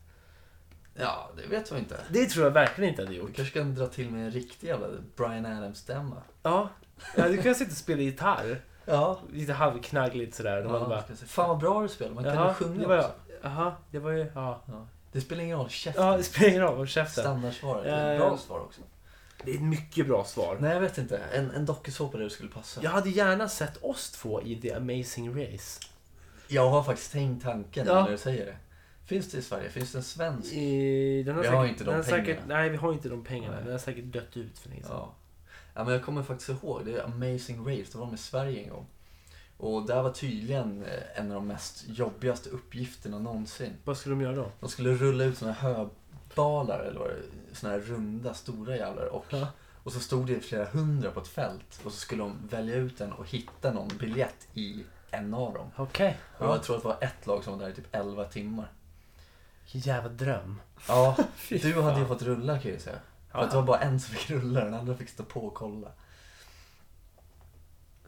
Speaker 2: Ja, det vet jag inte.
Speaker 1: Det tror jag verkligen inte hade
Speaker 2: Vi
Speaker 1: gjort.
Speaker 2: kanske kan dra till med en riktig jävla Brian Adams-stämma.
Speaker 1: Ja. ja du kan sitta och spela gitarr.
Speaker 2: Ja.
Speaker 1: Lite halvknaggligt sådär. Och man bara,
Speaker 2: ja ska jag säga. Fan vad bra du spelar, man kan
Speaker 1: Jaha,
Speaker 2: ju sjunga
Speaker 1: det var jag.
Speaker 2: också.
Speaker 1: Jaha, det var ju... Ja.
Speaker 2: Ja. Det spelar ingen roll, käften.
Speaker 1: Ja, det spelar ingen roll. Håll käften.
Speaker 2: Standardsvaret, det är ett bra
Speaker 1: Eh,
Speaker 2: svar också.
Speaker 1: Det är ett mycket bra svar.
Speaker 2: Nej, jag vet inte. En, en dokusåpa där det skulle passa.
Speaker 1: Jag hade gärna sett oss två i The Amazing Race.
Speaker 2: Jag har faktiskt tänkt tanken
Speaker 1: Ja.
Speaker 2: när du säger det. Finns det i Sverige? Finns det en svensk?
Speaker 1: I, den
Speaker 2: Vi
Speaker 1: säkert,
Speaker 2: har inte de
Speaker 1: den har Säkert,
Speaker 2: pengarna.
Speaker 1: nej, vi har inte de pengarna.
Speaker 2: Nej.
Speaker 1: Den har säkert dött ut för länge sedan.
Speaker 2: Ja. ja, men jag kommer faktiskt ihåg. Det är Amazing Race. Det var med Sverige en gång. Och där var tydligen eh, en av de mest jobbigaste uppgifterna någonsin.
Speaker 1: Vad skulle de göra då?
Speaker 2: De skulle rulla ut såna här höbalar, eller vad det såna här runda, stora jävlar. Och,
Speaker 1: Ja.
Speaker 2: och så stod det flera hundra på ett fält. Och så skulle de välja ut en och hitta någon biljett i en av dem.
Speaker 1: Okej.
Speaker 2: Och jag tror att det var ett lag som var där i typ 11 timmar.
Speaker 1: Vilken jävla dröm.
Speaker 2: Ja,
Speaker 1: Fy
Speaker 2: du hade ju
Speaker 1: fan.
Speaker 2: fått rulla kan jag ju säga. För
Speaker 1: Ja.
Speaker 2: att det var bara en som fick rulla, den andra fick stå på och kolla.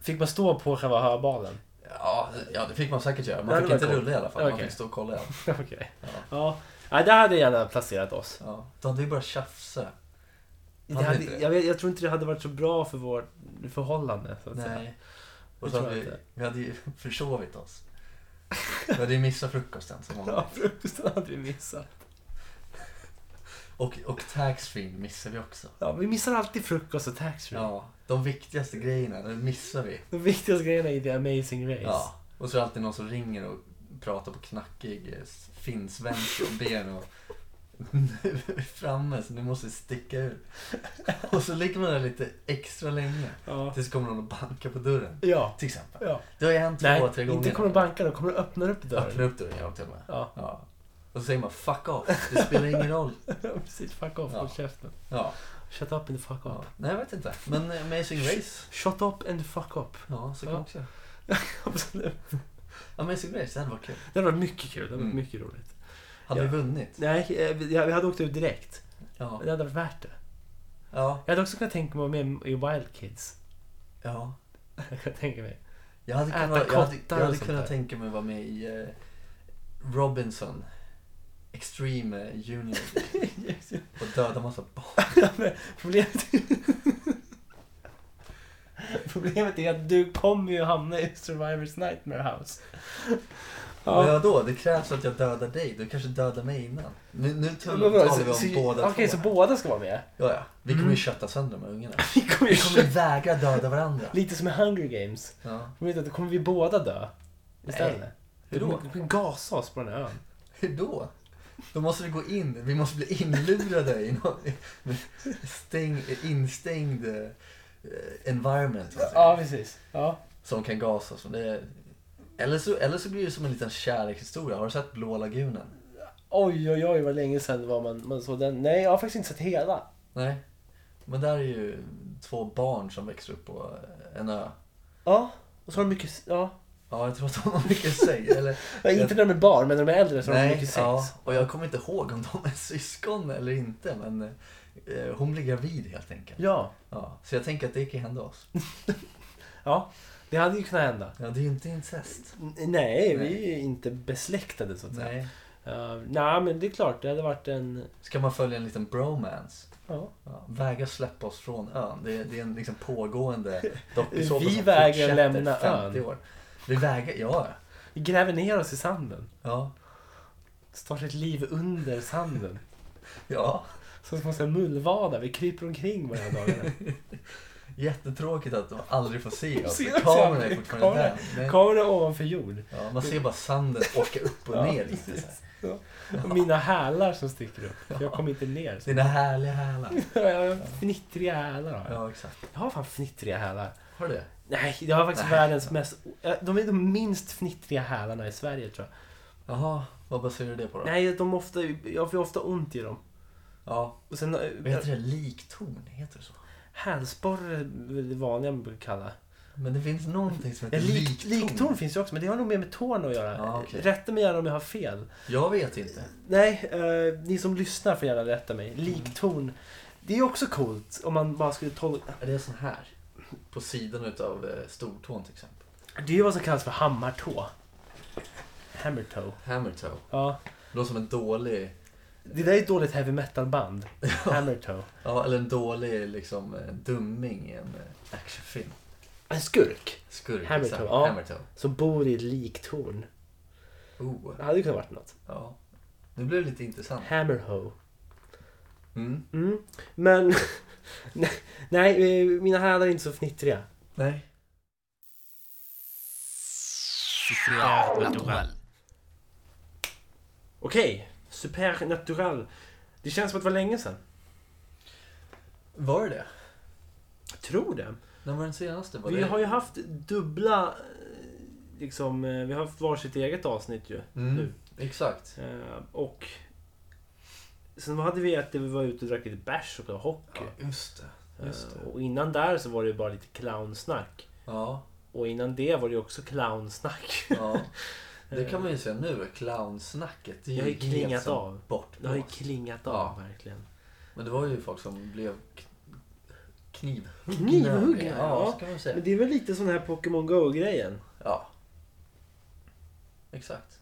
Speaker 1: Fick man stå på själva hörbalen?
Speaker 2: Ja, ja det fick man säkert göra.
Speaker 1: Ja, det
Speaker 2: Man fick
Speaker 1: var
Speaker 2: inte
Speaker 1: coolt.
Speaker 2: rulla i alla fall. Man
Speaker 1: Okej.
Speaker 2: fick stå och kolla. Ja.
Speaker 1: Okej.
Speaker 2: Ja.
Speaker 1: Ja. Nej, där hade jag gärna placerat oss.
Speaker 2: Ja. Då hade vi bara tjafsa.
Speaker 1: Det
Speaker 2: Hade
Speaker 1: hade,
Speaker 2: inte det?
Speaker 1: jag, vet- jag tror inte det hade varit så bra för vårt förhållande. Så att säga.
Speaker 2: Nej. Och
Speaker 1: Det
Speaker 2: så
Speaker 1: tror
Speaker 2: hade
Speaker 1: jag
Speaker 2: vi,
Speaker 1: inte.
Speaker 2: vi hade ju försovit oss. Vi hade ju missat frukosten som vanligt.
Speaker 1: Ja, frukosten hade vi missat.
Speaker 2: Och, och taxfree missade vi också.
Speaker 1: Ja, vi missar alltid frukost och taxfree.
Speaker 2: Ja, de viktigaste grejerna, de missar vi.
Speaker 1: De viktigaste grejerna i The Amazing Race.
Speaker 2: Ja. Och så är det alltid någon som ringer och pratar på knackig eh, finnsvenska och ber och nu är vi framme så nu måste vi sticka ur. Och så ligger man där lite extra länge.
Speaker 1: Ja.
Speaker 2: Tills kommer någon och bankar på dörren.
Speaker 1: ja.
Speaker 2: Till exempel.
Speaker 1: ja.
Speaker 2: Det har ju hänt två,
Speaker 1: Nej,
Speaker 2: tre gånger.
Speaker 1: inte kommer de banka, de kommer de öppna upp dörren.
Speaker 2: Öppnar upp dörren, jag till och med.
Speaker 1: Ja,
Speaker 2: Ja. Och så säger man fuck off, det spelar ingen roll.
Speaker 1: precis. Fuck off,
Speaker 2: Ja.
Speaker 1: håll käften.
Speaker 2: Ja.
Speaker 1: Shut up and fuck up.
Speaker 2: ja. Nej, jag vet inte. Men eh, Amazing Race.
Speaker 1: Shut up and fuck up.
Speaker 2: Ja, så
Speaker 1: Ja.
Speaker 2: kan man också göra.
Speaker 1: Absolut.
Speaker 2: Amazing Race, det hade varit kul.
Speaker 1: Det hade varit mycket kul. Det hade varit
Speaker 2: Mm.
Speaker 1: mycket roligt.
Speaker 2: Hade
Speaker 1: Ja.
Speaker 2: vi vunnit?
Speaker 1: Nej, eh, vi vi hade åkt ut direkt.
Speaker 2: Ja.
Speaker 1: Det hade varit värt det.
Speaker 2: Ja.
Speaker 1: Jag hade också kunnat tänka mig att vara med i Wild Kids.
Speaker 2: ja.
Speaker 1: Jag kan tänka mig.
Speaker 2: Jag hade
Speaker 1: Äta
Speaker 2: kunnat, jag hade,
Speaker 1: kottar
Speaker 2: jag
Speaker 1: och
Speaker 2: hade
Speaker 1: sånt
Speaker 2: kunnat
Speaker 1: där.
Speaker 2: tänka mig att vara med i eh, Robinson Extreme eh, Junior och döda massa barn.
Speaker 1: Problemet... Problemet är att du kommer ju hamna i Survivors Nightmare House.
Speaker 2: Men vadå, det krävs att jag dödar dig. Du kanske dödar mig innan. Nu, nu
Speaker 1: Men
Speaker 2: talar
Speaker 1: vadå,
Speaker 2: talar
Speaker 1: så-
Speaker 2: vi om
Speaker 1: så-
Speaker 2: båda
Speaker 1: Okej, så
Speaker 2: två.
Speaker 1: båda ska vara med?
Speaker 2: Ja, ja. Vi kommer
Speaker 1: Mm.
Speaker 2: ju kötta sönder de här ungarna.
Speaker 1: Vi kommer
Speaker 2: Vi
Speaker 1: ju
Speaker 2: kommer vägra döda varandra.
Speaker 1: Lite som i Hunger Games.
Speaker 2: Ja.
Speaker 1: Kommer vi, inte- kommer vi båda dö? Istället?
Speaker 2: Hur då?
Speaker 1: Vi kommer gasa oss på den här ön.
Speaker 2: Hur då? Då måste vi gå in. Vi måste bli inlurade i någon stäng, instängd eh, environment. så att säga.
Speaker 1: Ja, precis. Ja.
Speaker 2: Som kan gasa oss. Men det är- Eller så, eller så blir det som en liten kärlekshistoria. Har du sett Blå lagunen?
Speaker 1: Oj, oj, oj vad länge sedan var man, man såg den. Nej, jag har faktiskt inte sett hela.
Speaker 2: Nej. Men där är ju två barn som växer upp på en ö.
Speaker 1: Ja, och så har de mycket... Ja.
Speaker 2: Ja, jag tror att de har mycket sex. Eller,
Speaker 1: Ja, inte när de är barn, men när de är äldre så har de mycket sex.
Speaker 2: ja. Och jag kommer inte ihåg om de är syskon eller inte. Men eh, hon blir gravid helt enkelt.
Speaker 1: Ja.
Speaker 2: Ja, så jag tänker att det kan hända oss.
Speaker 1: ja, det hade ju kunnat hända.
Speaker 2: Ja, det är ju inte incest.
Speaker 1: N- Nej, vi är ju inte besläktade så att säga. Nej.
Speaker 2: Nej.
Speaker 1: nej, men det är klart, det hade varit en...
Speaker 2: Ska man följa en liten bromance?
Speaker 1: Ja.
Speaker 2: Ja, vägra släppa oss från ön. Det är, det är en liksom pågående dokusåpa
Speaker 1: Vi
Speaker 2: som
Speaker 1: vägrar
Speaker 2: fortsätter
Speaker 1: lämna
Speaker 2: 50
Speaker 1: ön.
Speaker 2: År. Vi vägrar, ja.
Speaker 1: Vi gräver ner oss i sanden.
Speaker 2: Ja,
Speaker 1: Startar ett liv under sanden.
Speaker 2: ja.
Speaker 1: Som små så här mullvadar, vi kryper omkring varje dagarna.
Speaker 2: Jättetråkigt att de aldrig får se oss.
Speaker 1: Se
Speaker 2: för
Speaker 1: oss
Speaker 2: Kameran är
Speaker 1: aldrig.
Speaker 2: fortfarande där. Men-
Speaker 1: Kameran ovanför jord.
Speaker 2: Ja, man ser bara sanden åka upp och
Speaker 1: Ja,
Speaker 2: ner lite. Så här.
Speaker 1: Ja. Och mina hälar som sticker upp. För jag kom inte ner. Så
Speaker 2: Dina härliga hälar.
Speaker 1: jag har fnittriga hälar har jag.
Speaker 2: Ja, exakt.
Speaker 1: Jag har fan fnittriga hälar.
Speaker 2: Har du det?
Speaker 1: Nej, jag har faktiskt
Speaker 2: Nej.
Speaker 1: världens mest... De är de minst fnittriga hälarna i Sverige tror jag.
Speaker 2: Jaha, vad baserar du det på då?
Speaker 1: Nej, de ofta, jag får ofta ont i dem.
Speaker 2: Ja,
Speaker 1: Och sen... eh,
Speaker 2: vad heter det? Liktorn? Heter det så?
Speaker 1: Hälsporre är väl det vanliga man brukar kalla.
Speaker 2: Men det finns någonting som
Speaker 1: Ja,
Speaker 2: heter
Speaker 1: lik,
Speaker 2: liktorn.
Speaker 1: liktorn finns ju också, men det har nog mer med tårna att göra.
Speaker 2: Ja, okej.
Speaker 1: Rätta mig gärna om jag har fel.
Speaker 2: Jag vet inte.
Speaker 1: Nej, eh, ni som lyssnar får gärna rätta
Speaker 2: Mm.
Speaker 1: mig. Liktorn. Det är ju också coolt om man bara skulle tolka...
Speaker 2: Är det sån här? På sidan utav eh, stortån till exempel.
Speaker 1: Det är ju vad som kallas för hammartå. Hammertoe.
Speaker 2: Hammertoe.
Speaker 1: Ja.
Speaker 2: Det låter som en dålig
Speaker 1: Det där är ett dåligt heavy metal-band. Hammertoe.
Speaker 2: Ja, eller en dålig liksom eh, dumming i en eh, actionfilm.
Speaker 1: En skurk
Speaker 2: Skurk. liksom.
Speaker 1: Hammertoe,
Speaker 2: exakt.
Speaker 1: ja.
Speaker 2: Hammertoe.
Speaker 1: som bor i ett liktorn.
Speaker 2: Oh,
Speaker 1: Det hade kunnat varit något.
Speaker 2: ja. Nu blev det lite intressant.
Speaker 1: Hammerhoe.
Speaker 2: Mm.
Speaker 1: Mm. Men... Nej, eh, mina hälar är inte så fnittriga.
Speaker 2: Nej.
Speaker 1: Okej, supernatural. Det känns som att det var länge sedan.
Speaker 2: Var det det?
Speaker 1: Jag tror det.
Speaker 2: När var den senaste? Var
Speaker 1: Vi
Speaker 2: det...
Speaker 1: har ju haft dubbla... eh, Liksom, eh, vi har haft varsitt eget avsnitt ju.
Speaker 2: mm.
Speaker 1: nu.
Speaker 2: Exakt.
Speaker 1: Eh, Och... Sen hade vi ett där vi var ute och drack lite bärs och spelade hockey.
Speaker 2: Ja, just det. Just
Speaker 1: Eh,
Speaker 2: det.
Speaker 1: Och innan där så var det ju bara lite clownsnack.
Speaker 2: Ja,
Speaker 1: Och innan det var det ju också clownsnack.
Speaker 2: ja. Det kan man ju säga nu. Clownsnacket. Det är
Speaker 1: Det har ju
Speaker 2: helt
Speaker 1: klingat
Speaker 2: som
Speaker 1: av.
Speaker 2: Bort.
Speaker 1: Det har ju klingat av
Speaker 2: Ja.
Speaker 1: verkligen.
Speaker 2: Men det var ju folk som blev k- knivhuggna.
Speaker 1: Knivhuggna,
Speaker 2: Ja,
Speaker 1: ja.
Speaker 2: så kan man säga.
Speaker 1: Men det är väl lite sån här Pokémon Go-grejen.
Speaker 2: Ja. Exakt.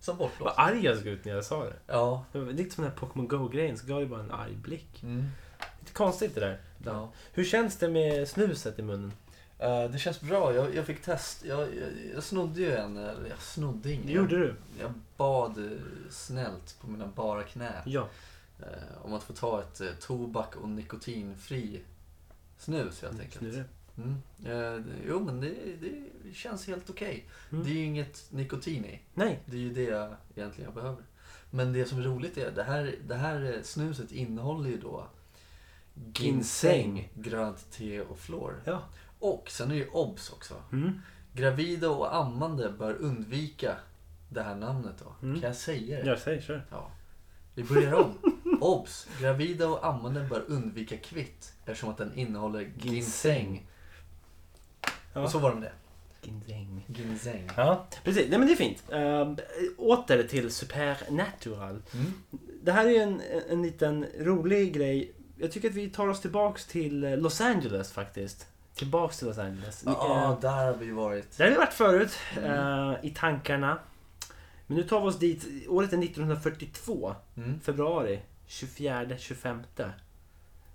Speaker 2: Som
Speaker 1: Vad
Speaker 2: bortblåst.
Speaker 1: arg jag såg ut när jag sa det.
Speaker 2: Ja.
Speaker 1: det var lite som den här Pokémon Go-grejen så gav det bara en arg blick.
Speaker 2: Mm.
Speaker 1: Lite konstigt det där.
Speaker 2: ja.
Speaker 1: Hur känns det med snuset i munnen?
Speaker 2: Eh, det känns bra. Jag, jag fick test. Jag, jag, jag snodde ju en. eller Jag snodde ingen.
Speaker 1: Det gjorde du?
Speaker 2: Jag bad eh, snällt på mina bara knän.
Speaker 1: Ja.
Speaker 2: Eh, om att få ta ett eh, tobak och nikotinfri snus helt enkelt.
Speaker 1: Snurre.
Speaker 2: Mm. Eh, jo men det, det känns helt okej.
Speaker 1: Mm.
Speaker 2: Det är ju inget nikotin i.
Speaker 1: Nej.
Speaker 2: Det är ju det jag egentligen jag behöver. Men det som är roligt är det här, det här eh, snuset innehåller ju då ginseng,
Speaker 1: Ginseng.
Speaker 2: grönt te och fluor.
Speaker 1: Ja.
Speaker 2: Och sen är det ju obs också.
Speaker 1: Mm.
Speaker 2: Gravida och ammande bör undvika det här namnet då.
Speaker 1: Mm.
Speaker 2: Kan jag säga det?
Speaker 1: Jag säger kör.
Speaker 2: Ja. Vi börjar om. Obs! Gravida och ammande bör undvika kvitt eftersom att den innehåller ginseng.
Speaker 1: Ja.
Speaker 2: Och så var det med
Speaker 1: Ginseng.
Speaker 2: det. Ginseng.
Speaker 1: Ja, precis. Nej men det är fint. Ehm, åter till Supernatural.
Speaker 2: Mm.
Speaker 1: Det här är en, en liten rolig grej. Jag tycker att vi tar oss tillbaks till eh, Los Angeles faktiskt. Tillbaks till Los Angeles.
Speaker 2: Ja,
Speaker 1: Eh,
Speaker 2: där har vi varit.
Speaker 1: Där har vi varit förut, eh, i tankarna. Men nu tar vi oss dit. Året är 1942,
Speaker 2: Mm.
Speaker 1: februari 24-25. Det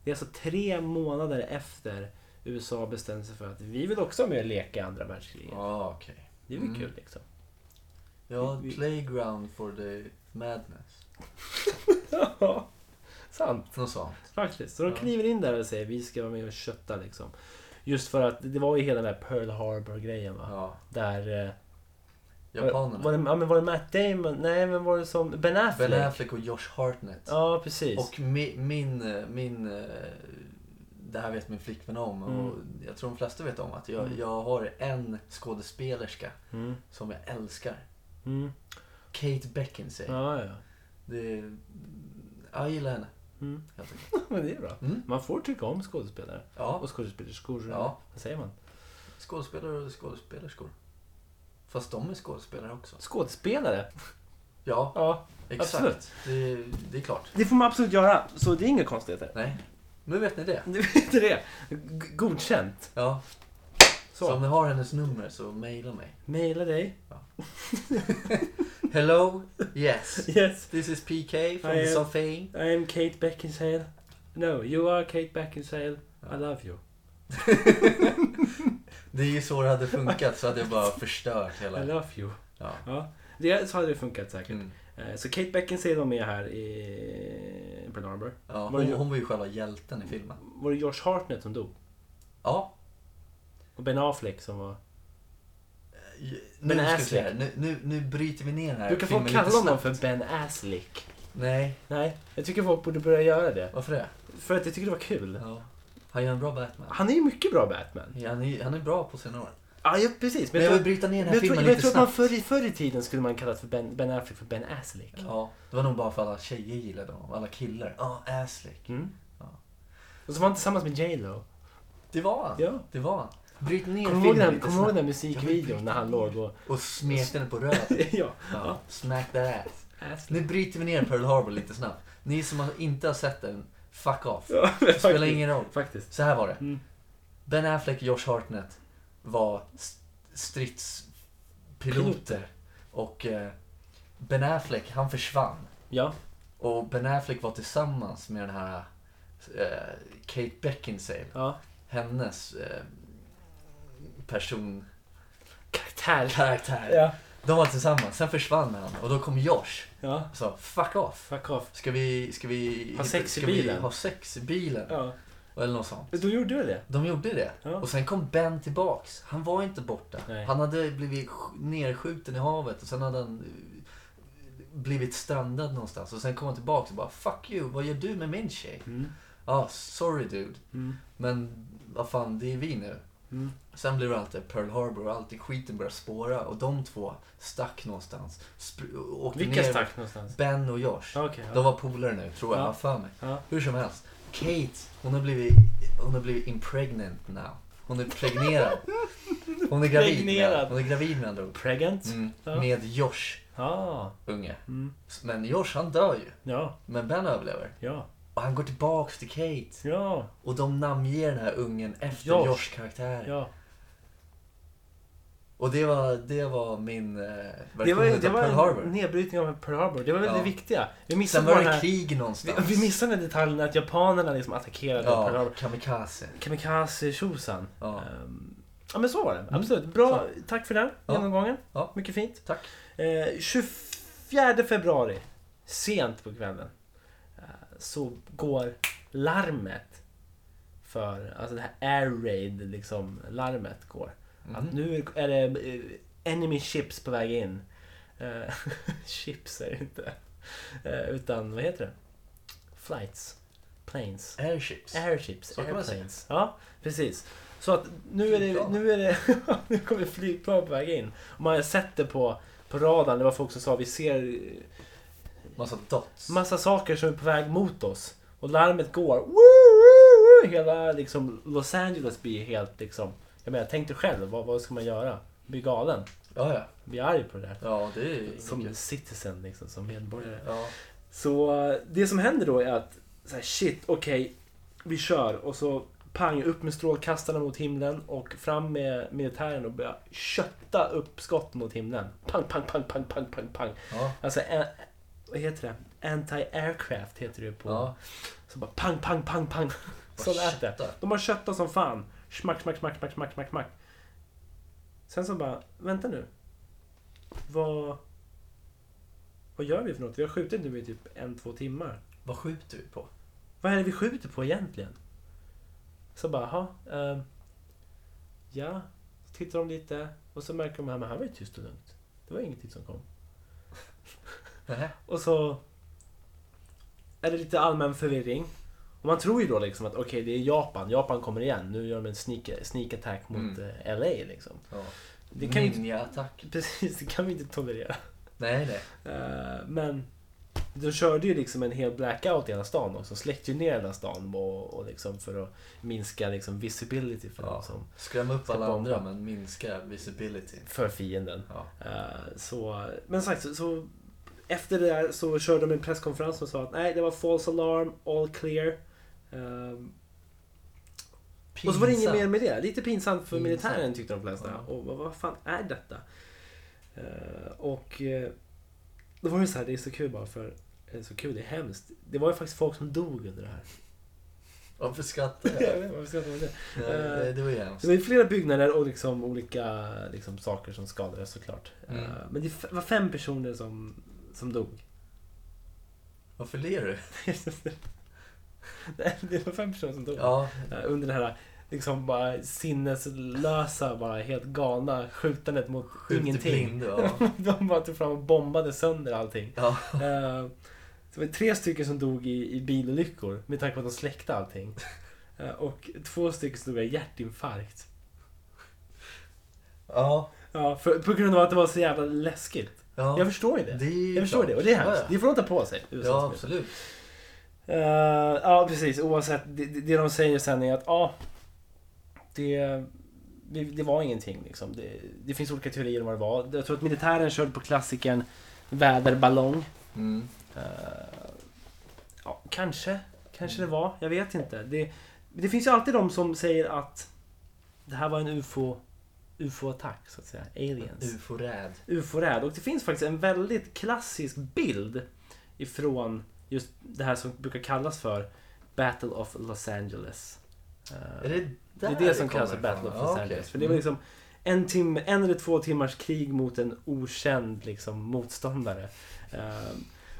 Speaker 1: är alltså tre månader efter USA bestämde sig för att vi vill också vara med och leka i andra världskriget.
Speaker 2: Ja, okej.
Speaker 1: Det är väl
Speaker 2: Mm.
Speaker 1: kul liksom.
Speaker 2: Ja,
Speaker 1: Vi- vi-
Speaker 2: Playground for the Madness.
Speaker 1: Ja, sant.
Speaker 2: Något sånt.
Speaker 1: Faktiskt. Så de
Speaker 2: Ja.
Speaker 1: kliver in där och säger vi ska vara med och kötta liksom. Just för att det var ju hela den här Pearl Harbor-grejen va.
Speaker 2: Ja.
Speaker 1: Där... eh,
Speaker 2: Japanerna.
Speaker 1: Var det, ja, men var det Matt Damon? Nej, men var det som... Ben Affleck?
Speaker 2: ben Affleck och Josh Hartnett.
Speaker 1: Ja, precis.
Speaker 2: Och mi, min, eh, min... eh, Det här vet min flickvän om och jag tror de flesta vet om att jag,
Speaker 1: Mm.
Speaker 2: jag har en skådespelerska
Speaker 1: Mm.
Speaker 2: som jag älskar.
Speaker 1: Mm.
Speaker 2: Kate Beckinsale.
Speaker 1: Ja, ja.
Speaker 2: Det, ja, jag gillar henne.
Speaker 1: Mm.
Speaker 2: Helt enkelt.
Speaker 1: men det är bra.
Speaker 2: Mm.
Speaker 1: Man får tycka om skådespelare.
Speaker 2: Ja,
Speaker 1: Och skådespelerskor.
Speaker 2: Ja.
Speaker 1: Vad säger man?
Speaker 2: skådespelare och skådespelerskor. Fast de är skådespelare också.
Speaker 1: Skådespelare?
Speaker 2: Ja,
Speaker 1: Ja, absolut.
Speaker 2: exakt. Det, det är klart.
Speaker 1: Det får man absolut göra. Så det är inga konstigheter.
Speaker 2: Nej, nu vet ni det.
Speaker 1: Du vet det. G- Godkänt.
Speaker 2: Ja, så.
Speaker 1: Så.
Speaker 2: om ni har hennes nummer så mejla mig.
Speaker 1: Maila dig.
Speaker 2: Hello, yes.
Speaker 1: Yes.
Speaker 2: This is PK from
Speaker 1: I am-
Speaker 2: the Sofain.
Speaker 1: I am Kate Beckinsale. No, you are Kate Beckinsale. I love you.
Speaker 2: Det är ju så det hade funkat så hade jag bara förstört hela...
Speaker 1: I love you.
Speaker 2: Ja.
Speaker 1: Ja, det, så hade det funkat säkert.
Speaker 2: Mm.
Speaker 1: Eh, Så Kate Beckinsale var med här i Pearl Harbor.
Speaker 2: Ja,
Speaker 1: Var det
Speaker 2: hon,
Speaker 1: ju-
Speaker 2: hon var ju själva hjälten i filmen.
Speaker 1: Var det Josh Hartnett som dog?
Speaker 2: Ja.
Speaker 1: Och Ben Affleck som var...
Speaker 2: Nu,
Speaker 1: Men
Speaker 2: ska vi
Speaker 1: Affleck.
Speaker 2: se här. nu, nu, nu bryter vi ner den här
Speaker 1: Du kan få
Speaker 2: filmen
Speaker 1: kalla
Speaker 2: lite
Speaker 1: honom
Speaker 2: snabbt.
Speaker 1: för Ben Aslick.
Speaker 2: Nej,
Speaker 1: Nej, jag tycker folk borde börja göra det.
Speaker 2: varför det?
Speaker 1: För att jag tycker det var kul.
Speaker 2: Ja. Han gör en bra Batman.
Speaker 1: Han är ju mycket bra Batman.
Speaker 2: Han är, han är bra på sina år.
Speaker 1: Ja, ja precis. Men
Speaker 2: Men jag
Speaker 1: jag tror,
Speaker 2: vill bryta
Speaker 1: men
Speaker 2: ner den
Speaker 1: jag
Speaker 2: här
Speaker 1: tror,
Speaker 2: filmen
Speaker 1: men jag
Speaker 2: lite
Speaker 1: tror att man
Speaker 2: snabbt.
Speaker 1: förr, i- förr i tiden skulle man kallat för ben, ben Affleck för Ben Aslick.
Speaker 2: Ja, det var nog bara för alla tjejer gillade honom. Alla killar. Ja, Affleck.
Speaker 1: Mm.
Speaker 2: Ja.
Speaker 1: Och så var han tillsammans med J Lo.
Speaker 2: Det var han.
Speaker 1: Ja.
Speaker 2: Det var han. Bryt ner
Speaker 1: Kommer du ihåg
Speaker 2: filmen
Speaker 1: den,
Speaker 2: lite
Speaker 1: kom ihåg den
Speaker 2: snabbt.
Speaker 1: där
Speaker 2: Jag vill
Speaker 1: musikvideon
Speaker 2: bryta
Speaker 1: när han
Speaker 2: ner.
Speaker 1: låg och...
Speaker 2: Och smet den på röven.
Speaker 1: ja.
Speaker 2: Ja. Smack that ass.
Speaker 1: Aslick.
Speaker 2: Nu bryter vi ner Pearl Harbor lite snabbt. Ni som har- inte har sett den, fuck off.
Speaker 1: Ja,
Speaker 2: Det spelar
Speaker 1: faktiskt.
Speaker 2: ingen roll.
Speaker 1: Faktiskt.
Speaker 2: Så här var det.
Speaker 1: Mm.
Speaker 2: Ben Affleck och Josh Hartnett var st- stridspiloter.
Speaker 1: Piloter.
Speaker 2: Och eh, Ben Affleck, han försvann.
Speaker 1: Ja.
Speaker 2: Och Ben Affleck var tillsammans med den här eh, Kate Beckinsale.
Speaker 1: Ja.
Speaker 2: Hennes eh, person,
Speaker 1: Karaktär.
Speaker 2: karaktär.
Speaker 1: Ja.
Speaker 2: De var tillsammans. Sen försvann han och då kom Josh
Speaker 1: ja.
Speaker 2: och sa Alltså, fuck off.
Speaker 1: Fuck off.
Speaker 2: Ska vi, ska vi,
Speaker 1: Ha sex i
Speaker 2: ska vi
Speaker 1: bilen."
Speaker 2: ha sex i bilen?
Speaker 1: Ja.
Speaker 2: Eller något sånt.
Speaker 1: Då gjorde du det?
Speaker 2: De gjorde det.
Speaker 1: Ja.
Speaker 2: Och sen kom Ben tillbaks. Han var inte borta.
Speaker 1: Nej.
Speaker 2: Han hade blivit sk- nerskjuten i havet och sen hade han eh, blivit strandad någonstans. Och sen kom han tillbaks och bara Fuck you, vad gör du med min tjej?
Speaker 1: Mm.
Speaker 2: Ja, ah, sorry dude.
Speaker 1: Mm.
Speaker 2: Men vad fan, det är vi nu.
Speaker 1: Mm.
Speaker 2: Sen blev det alltid Pearl Harbor och alltid skiten började spåra. Och de två stack någonstans. Sp- åkte
Speaker 1: Vilka
Speaker 2: ner.
Speaker 1: stack någonstans?
Speaker 2: Ben och Josh.
Speaker 1: Ja, Okej.
Speaker 2: De
Speaker 1: ja.
Speaker 2: var polare nu, tror jag.
Speaker 1: Ja.
Speaker 2: Ja. för mig.
Speaker 1: Ja.
Speaker 2: Hur som helst. Kate, hon har blivit, hon har blivit impregnant now. Hon är pregnerad. Hon är gravid. Med,
Speaker 1: Pregnerad.
Speaker 2: hon är gravid med andra ord.
Speaker 1: Pregnant?
Speaker 2: Mm,
Speaker 1: Ja.
Speaker 2: med Josh,
Speaker 1: Ja.
Speaker 2: unge.
Speaker 1: Mm.
Speaker 2: Men Josh han dör ju.
Speaker 1: Ja.
Speaker 2: Men Ben överlever.
Speaker 1: Ja.
Speaker 2: Och han går tillbaks till Kate.
Speaker 1: Ja.
Speaker 2: Och de namnger den här ungen efter
Speaker 1: Josh.
Speaker 2: Josh karaktär.
Speaker 1: Ja.
Speaker 2: Och det var, det var min eh, version
Speaker 1: Det var,
Speaker 2: av
Speaker 1: det var
Speaker 2: Pearl Harbor.
Speaker 1: en nedbrytning av Pearl Harbor. Det var väl
Speaker 2: Ja.
Speaker 1: det viktiga. Vi
Speaker 2: Sen
Speaker 1: missade
Speaker 2: var
Speaker 1: bara den
Speaker 2: det
Speaker 1: här...
Speaker 2: krig
Speaker 1: Vi,
Speaker 2: någonstans.
Speaker 1: vi missade den detaljen att japanerna liksom attackerade Pearl
Speaker 2: ja,
Speaker 1: Harbor.
Speaker 2: kamikaze.
Speaker 1: Kamikaze tjosan.
Speaker 2: Ja. Mm.
Speaker 1: Ehm, ja men så var det. Absolut. Bra. Tack för den
Speaker 2: Ja.
Speaker 1: genomgången.
Speaker 2: Ja.
Speaker 1: Mycket fint.
Speaker 2: Tack.
Speaker 1: Eh, 24 februari. Sent på kvällen. eh, så går larmet. För, alltså det här air raid liksom. Larmet går.
Speaker 2: Mm.
Speaker 1: Att nu är det eh, enemy ships på väg in. Eh, ships är det inte. Eh, utan vad heter det? Flights. Planes.
Speaker 2: Airships.
Speaker 1: Airships,
Speaker 2: Så kan man säga.
Speaker 1: airplanes. Ja, precis. Så att nu är det,
Speaker 2: Flygplan.
Speaker 1: nu är det, nu kommer flygplan på väg in. Och man har sett det på, på radarn, det var folk som sa vi ser
Speaker 2: Massa dots.
Speaker 1: massa saker som är på väg mot oss. Och larmet går. Woo, woo, woo. Hela liksom, Los Angeles blir helt liksom, jag menar tänk dig själv, vad, vad ska man göra? Bli galen,
Speaker 2: Ja, ja.
Speaker 1: bli arg på det där.
Speaker 2: Ja, det är ju
Speaker 1: Som
Speaker 2: inget-
Speaker 1: citizen liksom, som medborgare.
Speaker 2: Ja.
Speaker 1: Så eh, det som händer då är att så här, shit, okej, vi kör och så pang upp med strålkastarna mot himlen och fram med militären och börja kötta upp skott mot himlen. Pang, pang, pang, pang, pang, pang, pang.
Speaker 2: Ja.
Speaker 1: Alltså, eh, vad heter det? Anti-aircraft heter det ju på...
Speaker 2: Ja.
Speaker 1: Så bara pang, pang, pang, pang. Så
Speaker 2: Vad
Speaker 1: lät det.
Speaker 2: köttar.
Speaker 1: De har köttat som fan. Smack, smack, smack, smack, smack, smack, smack. Sen så bara, vänta nu. Vad... Vad gör vi för något? Vi har skjutit nu i typ en, två timmar.
Speaker 2: Vad skjuter vi på?
Speaker 1: Vad är det vi skjuter på egentligen? Så bara, ha. ja, så tittar de lite och så märker de här, men här var ju tyst och lugnt. Det var ingenting som kom.
Speaker 2: Nähä.
Speaker 1: Och så är det lite allmän förvirring. Och man tror ju då liksom att okej, det är Japan. Japan kommer igen. Nu gör de en sneak, sneak attack mot
Speaker 2: Mm.
Speaker 1: eh, LA liksom.
Speaker 2: Ja.
Speaker 1: Det kan ju inte,
Speaker 2: Ninja-attack.
Speaker 1: precis, det kan vi inte tolerera.
Speaker 2: Nej, nej.
Speaker 1: Eh, men de körde ju liksom en hel blackout i hela stan också. Släckte ju ner hela stan och, och liksom för att minska liksom visibility för,
Speaker 2: Ja.
Speaker 1: dem som,
Speaker 2: Skräm upp
Speaker 1: Ska
Speaker 2: alla
Speaker 1: bomba.
Speaker 2: andra men minska visibility.
Speaker 1: för fienden.
Speaker 2: Ja.
Speaker 1: Eh, så, men sagt, så, så efter det där så körde de en presskonferens och sa att nej, det var false alarm, all clear. Ehm, och så var det inget mer med det. Lite pinsamt för
Speaker 2: Pinsamt.
Speaker 1: militären tyckte de flesta.
Speaker 2: Ja.
Speaker 1: Och vad, vad fan är detta? Eh, och eh, då var det så här, det är så kul bara för eller så kul, det är hemskt. Det var ju faktiskt folk som dog under det här.
Speaker 2: Varför skrattar
Speaker 1: Jag vet
Speaker 2: jag?
Speaker 1: inte varför jag skrattar åt det.
Speaker 2: Nej, det- det var ju hemskt.
Speaker 1: Det var ju flera byggnader och liksom olika liksom, saker som skadades såklart.
Speaker 2: Mm.
Speaker 1: Eh, men det f- var fem personer som, som dog.
Speaker 2: Varför ler du?
Speaker 1: Nej, det var fem personer som dog.
Speaker 2: Ja,
Speaker 1: Eh, Under det här liksom bara sinneslösa, bara helt galna skjutandet mot
Speaker 2: skjuter
Speaker 1: ingenting.
Speaker 2: blind. Ja.
Speaker 1: De bara tog fram och bombade sönder allting.
Speaker 2: Ja.
Speaker 1: Eh, Det var tre stycken som dog i, i bilolyckor med tanke på att de släckte allting. Eh, Och två stycken som dog av hjärtinfarkt.
Speaker 2: Ja.
Speaker 1: Ja, för, på grund av att det var så jävla läskigt. Jag
Speaker 2: ja.
Speaker 1: förstår ju det.
Speaker 2: Det är ju
Speaker 1: Jag förstår
Speaker 2: klart.
Speaker 1: det och det är hemskt.
Speaker 2: Ja, ja.
Speaker 1: Det får de ta på sig. USAs
Speaker 2: Ja,
Speaker 1: medel.
Speaker 2: absolut.
Speaker 1: Eh, ja, precis. Oavsett. Det, det det de säger sen är att ja, det, det, det var ingenting. Liksom. Det, det finns olika teorier om vad det var. Jag tror att militären körde på klassikern väderballong.
Speaker 2: Mm.
Speaker 1: Eh, ja, kanske. Kanske det var. Jag vet inte. Det, det finns ju alltid de som säger att det här var en UFO, UFO-attack, så att säga. Aliens.
Speaker 2: Mm. Ufo-räd.
Speaker 1: UFO-räd. Och det finns faktiskt en väldigt klassisk bild ifrån just det här som brukar kallas för Battle of Los Angeles. Eh,
Speaker 2: Är det där
Speaker 1: det är det som kallas för
Speaker 2: kommer
Speaker 1: Battle of
Speaker 2: ifrån?
Speaker 1: Los
Speaker 2: Ja, okej.
Speaker 1: Angeles. För det var liksom en, timme, en eller två timmars krig mot en okänd liksom, motståndare. Eh,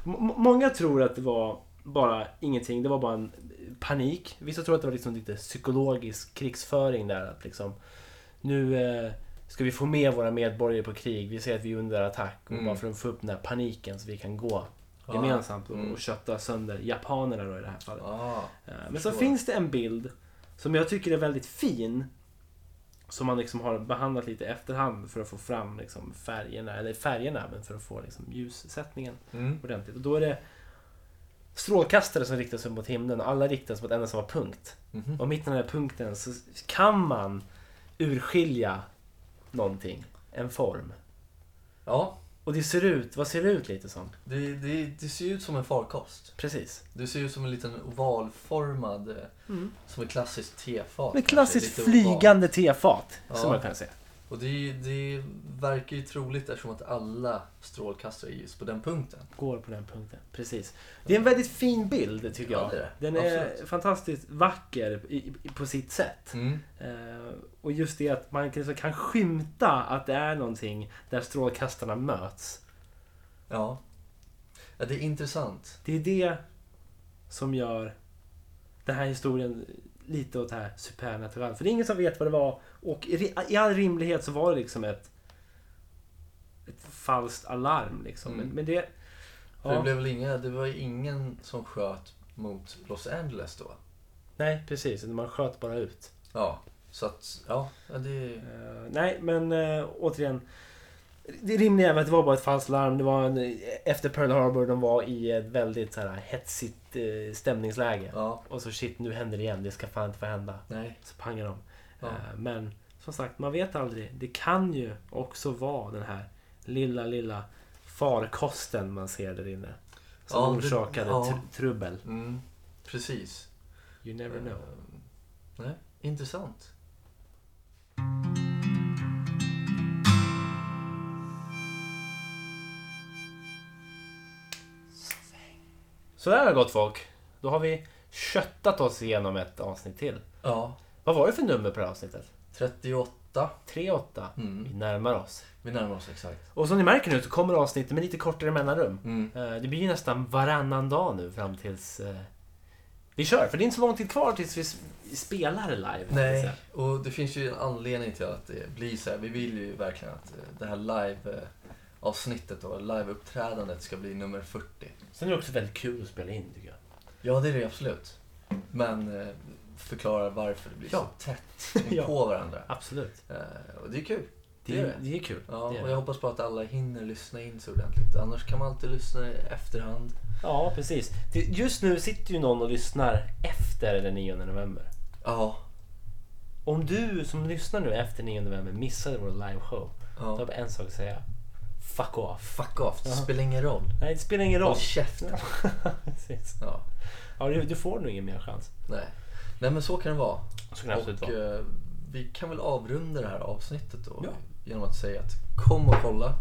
Speaker 1: m- många tror att det var bara ingenting, det var bara en panik. Vissa tror att det var liksom lite psykologisk krigsföring där. Att liksom, nu eh, ska vi få med våra medborgare på krig, vi ser att vi är under attack. Och
Speaker 2: Mm.
Speaker 1: Bara för att få upp den här paniken så vi kan gå
Speaker 2: Ja.
Speaker 1: gemensamt
Speaker 2: Mm.
Speaker 1: och, och kötta sönder japanerna då i det här fallet.
Speaker 2: Ja.
Speaker 1: Eh, Men så
Speaker 2: Förstår.
Speaker 1: finns det en bild som jag tycker är väldigt fin. Som man liksom har behandlat lite i efterhand för att få fram liksom färgerna, eller färgerna, men för att få liksom ljussättningen
Speaker 2: Mm.
Speaker 1: ordentligt. Och då är det strålkastare som riktas upp mot himlen och alla riktas mot en och samma punkt.
Speaker 2: Mhm.
Speaker 1: Och mitt i den här punkten så kan man urskilja någonting, en form.
Speaker 2: Ja,
Speaker 1: Och det ser ut, vad ser det ut lite som?
Speaker 2: det, det, det ser ju ut som en farkost.
Speaker 1: Precis.
Speaker 2: Det ser ut som en liten ovalformad, eh, som ett klassiskt tefat.
Speaker 1: Mm. Med
Speaker 2: kanske, lite
Speaker 1: klassiskt
Speaker 2: oval.
Speaker 1: flygande tefat,
Speaker 2: Ja.
Speaker 1: som man kan säga.
Speaker 2: Och det, är ju- det verkar ju troligt eftersom att alla strålkastare är just på den punkten.
Speaker 1: går på den punkten. Precis. Det är en väldigt fin bild tycker jag.
Speaker 2: Ja, det är det.
Speaker 1: Den är
Speaker 2: Absolut.
Speaker 1: fantastiskt vacker i, i, på sitt sätt.
Speaker 2: Mm.
Speaker 1: Eh, och just det att man liksom kan skymta att det är någonting där strålkastarna möts.
Speaker 2: Ja. ja, det är intressant.
Speaker 1: Det är det som gör den här historien lite åt det här supernatural. För det är ingen som vet vad det var. Och i, ri- i all rimlighet så var det liksom ett, ett falskt alarm. Liksom.
Speaker 2: Mm.
Speaker 1: Men, men det...
Speaker 2: För det,
Speaker 1: Ja,
Speaker 2: blev väl inga, det var ju ingen som sköt mot Los Angeles då.
Speaker 1: Nej, precis. Man sköt bara ut.
Speaker 2: Ja, så att ja, ja, det,
Speaker 1: Eh, nej, men eh, återigen. Det rimliga är väl att det var bara ett falskt larm. Det var en, efter Pearl Harbor, de var i ett väldigt så här, hetsigt eh, stämningsläge.
Speaker 2: ja,
Speaker 1: Och så shit, nu händer det igen. Det ska fan inte få hända.
Speaker 2: nej.
Speaker 1: Så pangar de.
Speaker 2: Ja.
Speaker 1: Eh, men som sagt, man vet aldrig. Det kan ju också vara den här lilla, lilla farkosten man ser där inne. Som
Speaker 2: Ja, det-
Speaker 1: orsakade
Speaker 2: ja.
Speaker 1: tr- trubbel.
Speaker 2: Mm, precis.
Speaker 1: You never know.
Speaker 2: Ehm, Nej, intressant.
Speaker 1: Sådär har det gått folk. Då har vi köttat oss igenom ett avsnitt till.
Speaker 2: Ja,
Speaker 1: Vad var det för nummer på det här avsnittet?
Speaker 2: 38.
Speaker 1: 3-8. Vi
Speaker 2: Mm.
Speaker 1: närmar oss.
Speaker 2: Vi närmar oss exakt.
Speaker 1: Och som ni märker nu så kommer avsnitten med lite kortare mellanrum.
Speaker 2: Mm.
Speaker 1: Eh, Det blir ju nästan varannan dag nu fram tills eh, vi kör. För det är inte så lång tid kvar tills vi s- spelar live.
Speaker 2: Nej, och det finns ju en anledning till att det blir så här. Vi vill ju verkligen att eh, det här live-avsnittet och live-uppträdandet ska bli nummer 40.
Speaker 1: Sen är det också väldigt kul att spela in tycker jag.
Speaker 2: Ja, det är det absolut. Men eh, förklara varför det blir
Speaker 1: Ja.
Speaker 2: så tätt
Speaker 1: Ja.
Speaker 2: på varandra.
Speaker 1: Absolut.
Speaker 2: Eh, och det är kul.
Speaker 1: Det,
Speaker 2: Det är
Speaker 1: är, det är kul.
Speaker 2: Ja,
Speaker 1: det är
Speaker 2: och
Speaker 1: det.
Speaker 2: jag hoppas på att alla hinner lyssna in så ordentligt. Annars kan man alltid lyssna i efterhand.
Speaker 1: ja, precis. Det- Just nu sitter ju någon och lyssnar efter den 9 november.
Speaker 2: Ja,
Speaker 1: Om du som lyssnar nu efter 9 november missade vår liveshow. Då har
Speaker 2: ja.
Speaker 1: jag bara en sak att säga. Fuck off.
Speaker 2: Fuck off, det
Speaker 1: Ja.
Speaker 2: spelar ingen roll.
Speaker 1: Nej, det spelar ingen roll.
Speaker 2: Håll käften.
Speaker 1: Precis.
Speaker 2: Ja,
Speaker 1: Ja, du, du får nog ingen mer chans.
Speaker 2: nej. nej, men så kan det vara.
Speaker 1: Så kan det absolut
Speaker 2: och
Speaker 1: vara.
Speaker 2: eh, vi kan väl avrunda det här avsnittet då
Speaker 1: Ja.
Speaker 2: genom att säga att kom och kolla.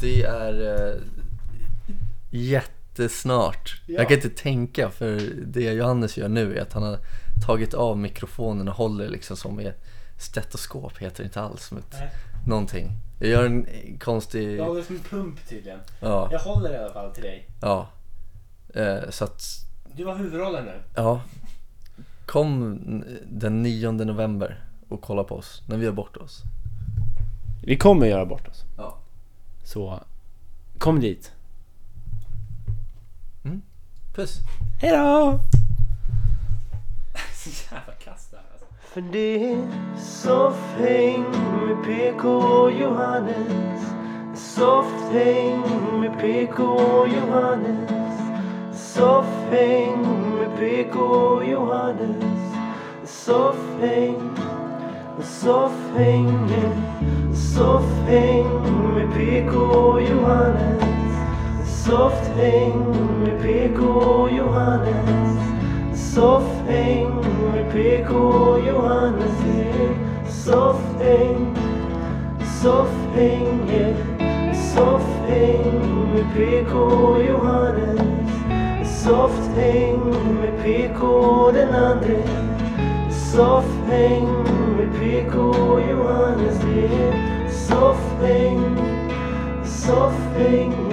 Speaker 2: Det är eh, jättesnart.
Speaker 1: Ja.
Speaker 2: Jag kan inte tänka för det Johannes gör nu är att han har tagit av mikrofonen och håller liksom som i ett stetoskop heter det inte alls. Som ett,
Speaker 1: Nej.
Speaker 2: någonting. Jag gör en eh, konstig...
Speaker 1: Jag håller som en pump tydligen.
Speaker 2: Ja.
Speaker 1: Jag håller i alla fall till dig.
Speaker 2: ja. Eh, så att
Speaker 1: Du var huvudrollen nu.
Speaker 2: Ja. Kom den 9 november och kolla på oss när vi har bort oss.
Speaker 1: Vi kommer göra bort oss.
Speaker 2: Ja.
Speaker 1: Så kom dit.
Speaker 2: Puss.
Speaker 1: Hej då! Så jävla kass det här alltså. För det är soft häng med PK och Johannes. Soft häng med PK och Johannes. Soft häng med PK och Johannes. Soft häng. Soft häng. Soft häng med PK och Johannes. Soft häng med PK och Johannes. Soft häng med PK och Johannes. yeah. Soft häng. Soft häng. yeah. Soft häng med PK och Johannes.
Speaker 3: PK den andre Soffhäng med PK Johannes Det är soffhäng Soffhäng